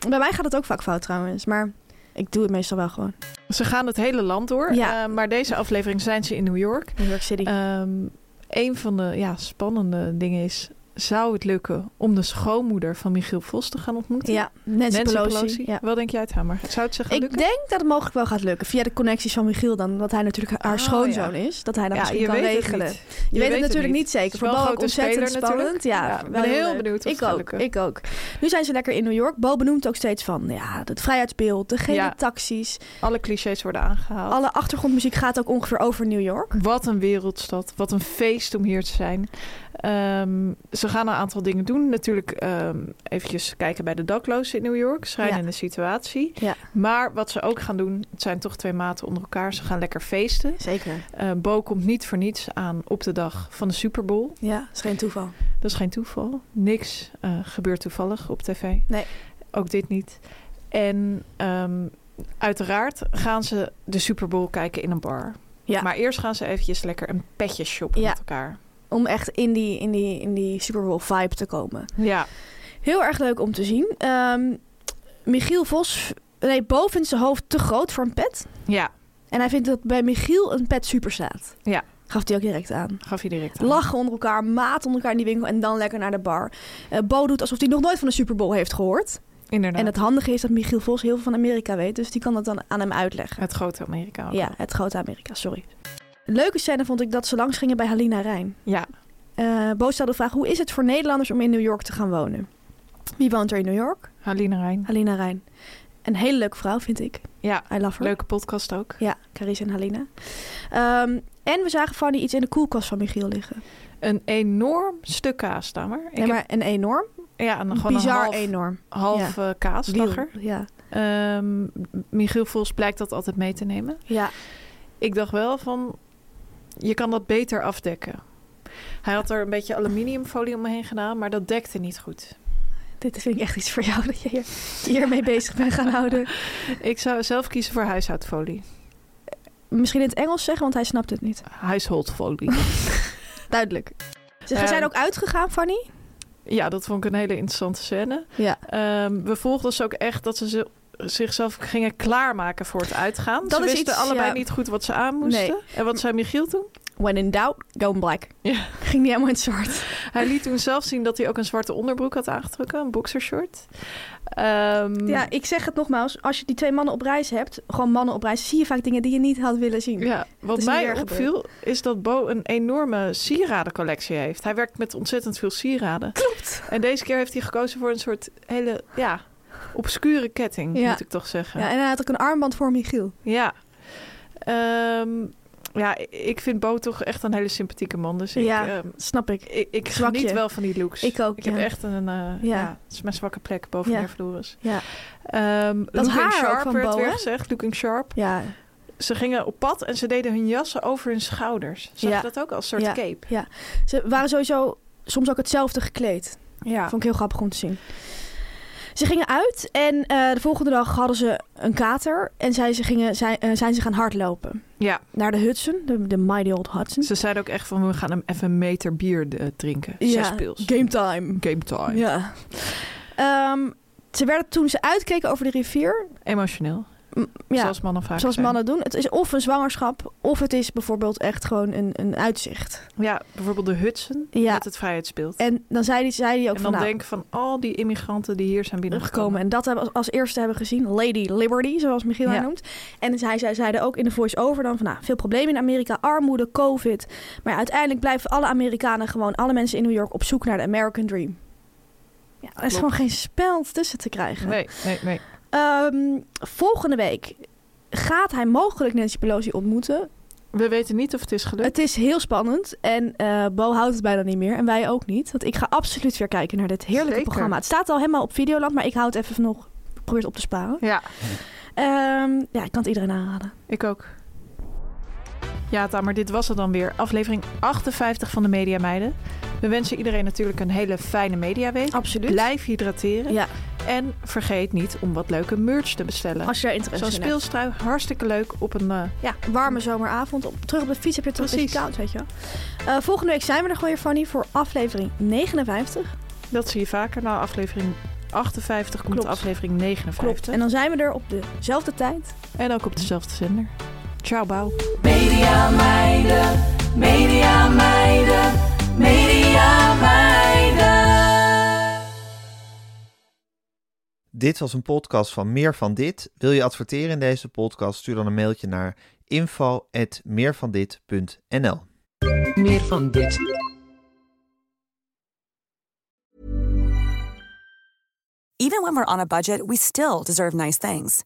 D: Bij mij gaat het ook vaak fout trouwens, maar ik doe het meestal wel gewoon.
E: Ze gaan het hele land door.
D: Ja.
E: eh, maar deze
D: Eh,
E: aflevering zijn ze in New York.
D: New York City.
E: Ehm een van de ja, spannende dingen is zou het lukken om de schoonmoeder van Michiel Vos te gaan ontmoeten.
D: Ja, Nancy,
E: Nancy Pelosi.
D: Pelosi. Ja.
E: Wat denk jij, Tamer? Zou het ze gaan
D: Ik
E: lukken?
D: denk dat het mogelijk wel gaat lukken. Via de connecties van Michiel dan. Dat hij natuurlijk haar
E: Oh,
D: schoonzoon is. Dat hij dat misschien kan regelen.
E: niet.
D: Je, weet, het natuurlijk niet zeker.
E: Het is wel
D: Voetbal
E: een
D: ook
E: grote
D: ontzettend
E: speler
D: spannend.
E: natuurlijk.
D: Ja,
E: Ja, ik ben
D: wel heel
E: heel
D: leuk.
E: benieuwd
D: Ik
E: of het gaat
D: ook,
E: lukken.
D: ik ook. Nu zijn ze lekker in New York. Bo benoemt ook steeds van ja, het vrijheidsbeeld, de gele
E: Ja.
D: taxis.
E: Alle clichés worden aangehaald.
D: Alle achtergrondmuziek gaat ook ongeveer over New York.
E: Wat een wereldstad. Wat een feest om hier te zijn. Ehm, ze gaan een aantal dingen doen. Natuurlijk ehm eventjes kijken bij de daklozen in New York. Schrijnende situatie.
D: Ja.
E: Maar wat ze ook gaan doen, het zijn toch twee maten onder elkaar. Ze gaan lekker feesten.
D: Zeker.
E: Eh, Bo komt niet voor niets aan op de dag van de Super Bowl.
D: Ja, is geen toeval.
E: Dat is geen toeval. Niks eh, gebeurt toevallig op tv.
D: Nee.
E: Ook dit niet. En ehm, uiteraard gaan ze de Super Bowl kijken in een bar.
D: Ja.
E: Maar eerst gaan ze eventjes lekker een petje shoppen
D: Ja.
E: met elkaar.
D: Om echt in die, in die, in die Super Bowl vibe te komen.
E: Ja.
D: Heel erg leuk om te zien. Ehm, Michiel Vos, nee, Bo vindt zijn hoofd te groot voor een pet.
E: Ja,
D: En hij vindt dat bij Michiel een pet super staat.
E: Ja.
D: Gaf hij ook direct aan.
E: gaf je direct aan.
D: Lachen onder elkaar, maat onder elkaar in die winkel en dan lekker naar de bar. Eh, Bo doet alsof hij nog nooit van de Super Bowl heeft gehoord.
E: Inderdaad.
D: En het handige is dat Michiel Vos heel veel van Amerika weet, dus die kan dat dan aan hem uitleggen.
E: Het grote Amerika. ook.
D: Ja, het grote Amerika, sorry. Leuke scène vond ik dat ze langs gingen bij Halina Rijn.
E: Ja.
D: Eh Bo stelde de vraag: hoe is het voor Nederlanders om in New York te gaan wonen? Wie woont er in New York?
E: Halina Rijn.
D: Halina Rijn. Een hele leuke vrouw, vind ik.
E: Ja.
D: I love her.
E: Leuke podcast ook.
D: Ja, Carice en Halina. Ehm, en we zagen Fanny iets in de koelkast van Michiel liggen.
E: Een enorm stuk kaas, daar maar. Ik
D: Nee, maar een enorm.
E: heb- ja, een, gewoon
D: bizar
E: een half,
D: enorm.
E: half eh, kaas
D: Wiel,
E: lag er.
D: Ja.
E: Ehm, Michiel Vos blijkt dat altijd mee te nemen.
D: ja.
E: Ik dacht wel van, je kan dat beter afdekken. Hij had er een beetje aluminiumfolie omheen gedaan, maar dat dekte niet goed.
D: Dit vind ik echt iets voor jou dat je hier, hiermee bezig bent gaan houden.
E: Ik zou zelf kiezen voor huishoudfolie.
D: Misschien in het Engels zeggen, want hij snapt het niet.
E: Huisholdfolie.
D: Duidelijk. Ze
E: Ehm.
D: zijn ook uitgegaan, Fanny.
E: ja, dat vond ik een hele interessante scène.
D: Ja.
E: Ehm, we volgden ze ook echt dat ze ze- zichzelf gingen klaarmaken voor het uitgaan.
D: Dat
E: ze
D: is
E: wisten
D: iets,
E: allebei
D: ja.
E: niet goed wat ze aan moesten. En wat zei Michiel toen?
D: When in doubt, go in black.
E: Ja.
D: Ging niet helemaal in het zwart.
E: Hij liet toen zelf zien dat hij ook een zwarte onderbroek had aangetrokken. Een boxershort. Ehm,
D: Ja, ik zeg het nogmaals. Als je die twee mannen op reis hebt, gewoon mannen op reis, zie je vaak dingen die je niet had willen zien.
E: Ja,
D: Het
E: wat
D: is
E: mij
D: meer
E: opviel is dat Bo een enorme sieradencollectie heeft. Hij werkt met ontzettend veel sieraden.
D: Klopt.
E: En deze keer heeft hij gekozen voor een soort hele, ja, obscure ketting,
D: Ja.
E: moet ik toch zeggen.
D: Ja,
E: Ja.
D: en hij had ook een armband voor Michiel.
E: Ja. Ehm, ja, ik vind Bo toch echt een hele sympathieke man. Dus ik,
D: Ja.
E: ehm,
D: Snap ik.
E: ik, ik
D: Zwakje.
E: geniet wel van die looks.
D: Ik ook,
E: Ik
D: ja.
E: heb echt een, eh,
D: Ja.
E: ja. het is mijn zwakke plek boven
D: Ja.
E: Nervloris.
D: Ja.
E: Ehm,
D: Dat
E: Looking
D: haar ook
E: Sharp
D: van
E: werd
D: Bo,
E: weer
D: hè?
E: gezegd, Looking Sharp.
D: Ja,
E: Ze gingen op pad en ze deden hun jassen over hun schouders. Zag
D: Ja.
E: je dat ook als soort
D: Ja.
E: cape?
D: ze waren sowieso soms ook hetzelfde gekleed.
E: Ja.
D: Vond ik heel grappig om te zien. Ze gingen uit en eh, de volgende dag hadden ze een kater. En zij, ze gingen, zij, eh, zijn ze gaan hardlopen.
E: ja,
D: Naar de Hudson, de, de mighty old Hudson.
E: ze zeiden ook echt van we gaan hem even een meter bier eh, drinken. Zes
D: ja,
E: pils.
D: game time.
E: Game time.
D: Ja. Ehm, ze werden toen ze uitkeken over de rivier,
E: Emotioneel.
D: ja, zoals,
E: Zoals mannen vaak zijn.
D: mannen doen. Het is of een zwangerschap, of het is bijvoorbeeld echt gewoon een, een uitzicht.
E: Ja, bijvoorbeeld de Hudson
D: Ja.
E: met het vrijheidsbeeld.
D: En dan zei die, zei die ook
E: en
D: van,
E: dan
D: nou,
E: denken van al die immigranten die hier zijn
D: teruggekomen.
E: binnengekomen.
D: En dat hebben we als, als eerste hebben gezien. Lady Liberty, zoals Michiel haar
E: Ja.
D: noemt. En zij, zij zeiden ook in de voice-over dan van... Nou, veel problemen in Amerika, armoede, covid. Maar ja, uiteindelijk blijven alle Amerikanen gewoon... alle mensen in New York op zoek naar de American Dream. Ja, er is
E: Klopt.
D: gewoon geen spel tussen te krijgen.
E: Nee, nee, nee.
D: Ehm, volgende week gaat hij mogelijk Nancy Pelosi ontmoeten.
E: We weten niet of het is gelukt.
D: Het is heel spannend en eh, Bo houdt het bijna niet meer. En wij ook niet. Want ik ga absoluut weer kijken naar dit heerlijke
E: Zeker.
D: programma. Het staat al helemaal op Videoland, maar ik hou het even nog... ik Probeer het op te sparen.
E: Ja,
D: Ehm, ja, ik kan het iedereen aanraden.
E: ik ook. Ja, Tamer, dit was het dan weer. Aflevering 58 van de Media Meiden. We wensen iedereen natuurlijk een hele fijne mediaweek.
D: Absoluut.
E: Blijf hydrateren.
D: Ja,
E: En vergeet niet om wat leuke merch te bestellen.
D: als je daar interesse
E: Zo'n
D: in hebt.
E: speelstrui, hartstikke leuk op een... eh, ja,
D: Warme zomeravond. Op, terug op de fiets heb je het toch een beetje
E: Precies.
D: koud, weet je wel. Eh, volgende week zijn we er gewoon weer, Fanny, voor aflevering 59.
E: dat zie je vaker. Na aflevering 58 komt
D: Klopt.
E: aflevering 59.
D: En dan zijn we er op dezelfde tijd.
E: En ook op dezelfde zender. Ciao, bouw.
F: Media meiden, media meiden, media meiden. Dit was een podcast van Meer van Dit. Wil je adverteren in deze podcast? Stuur dan een mailtje naar info.meervandit.nl
A: Meer van dit.
G: Even when we're on a budget, we still deserve nice things.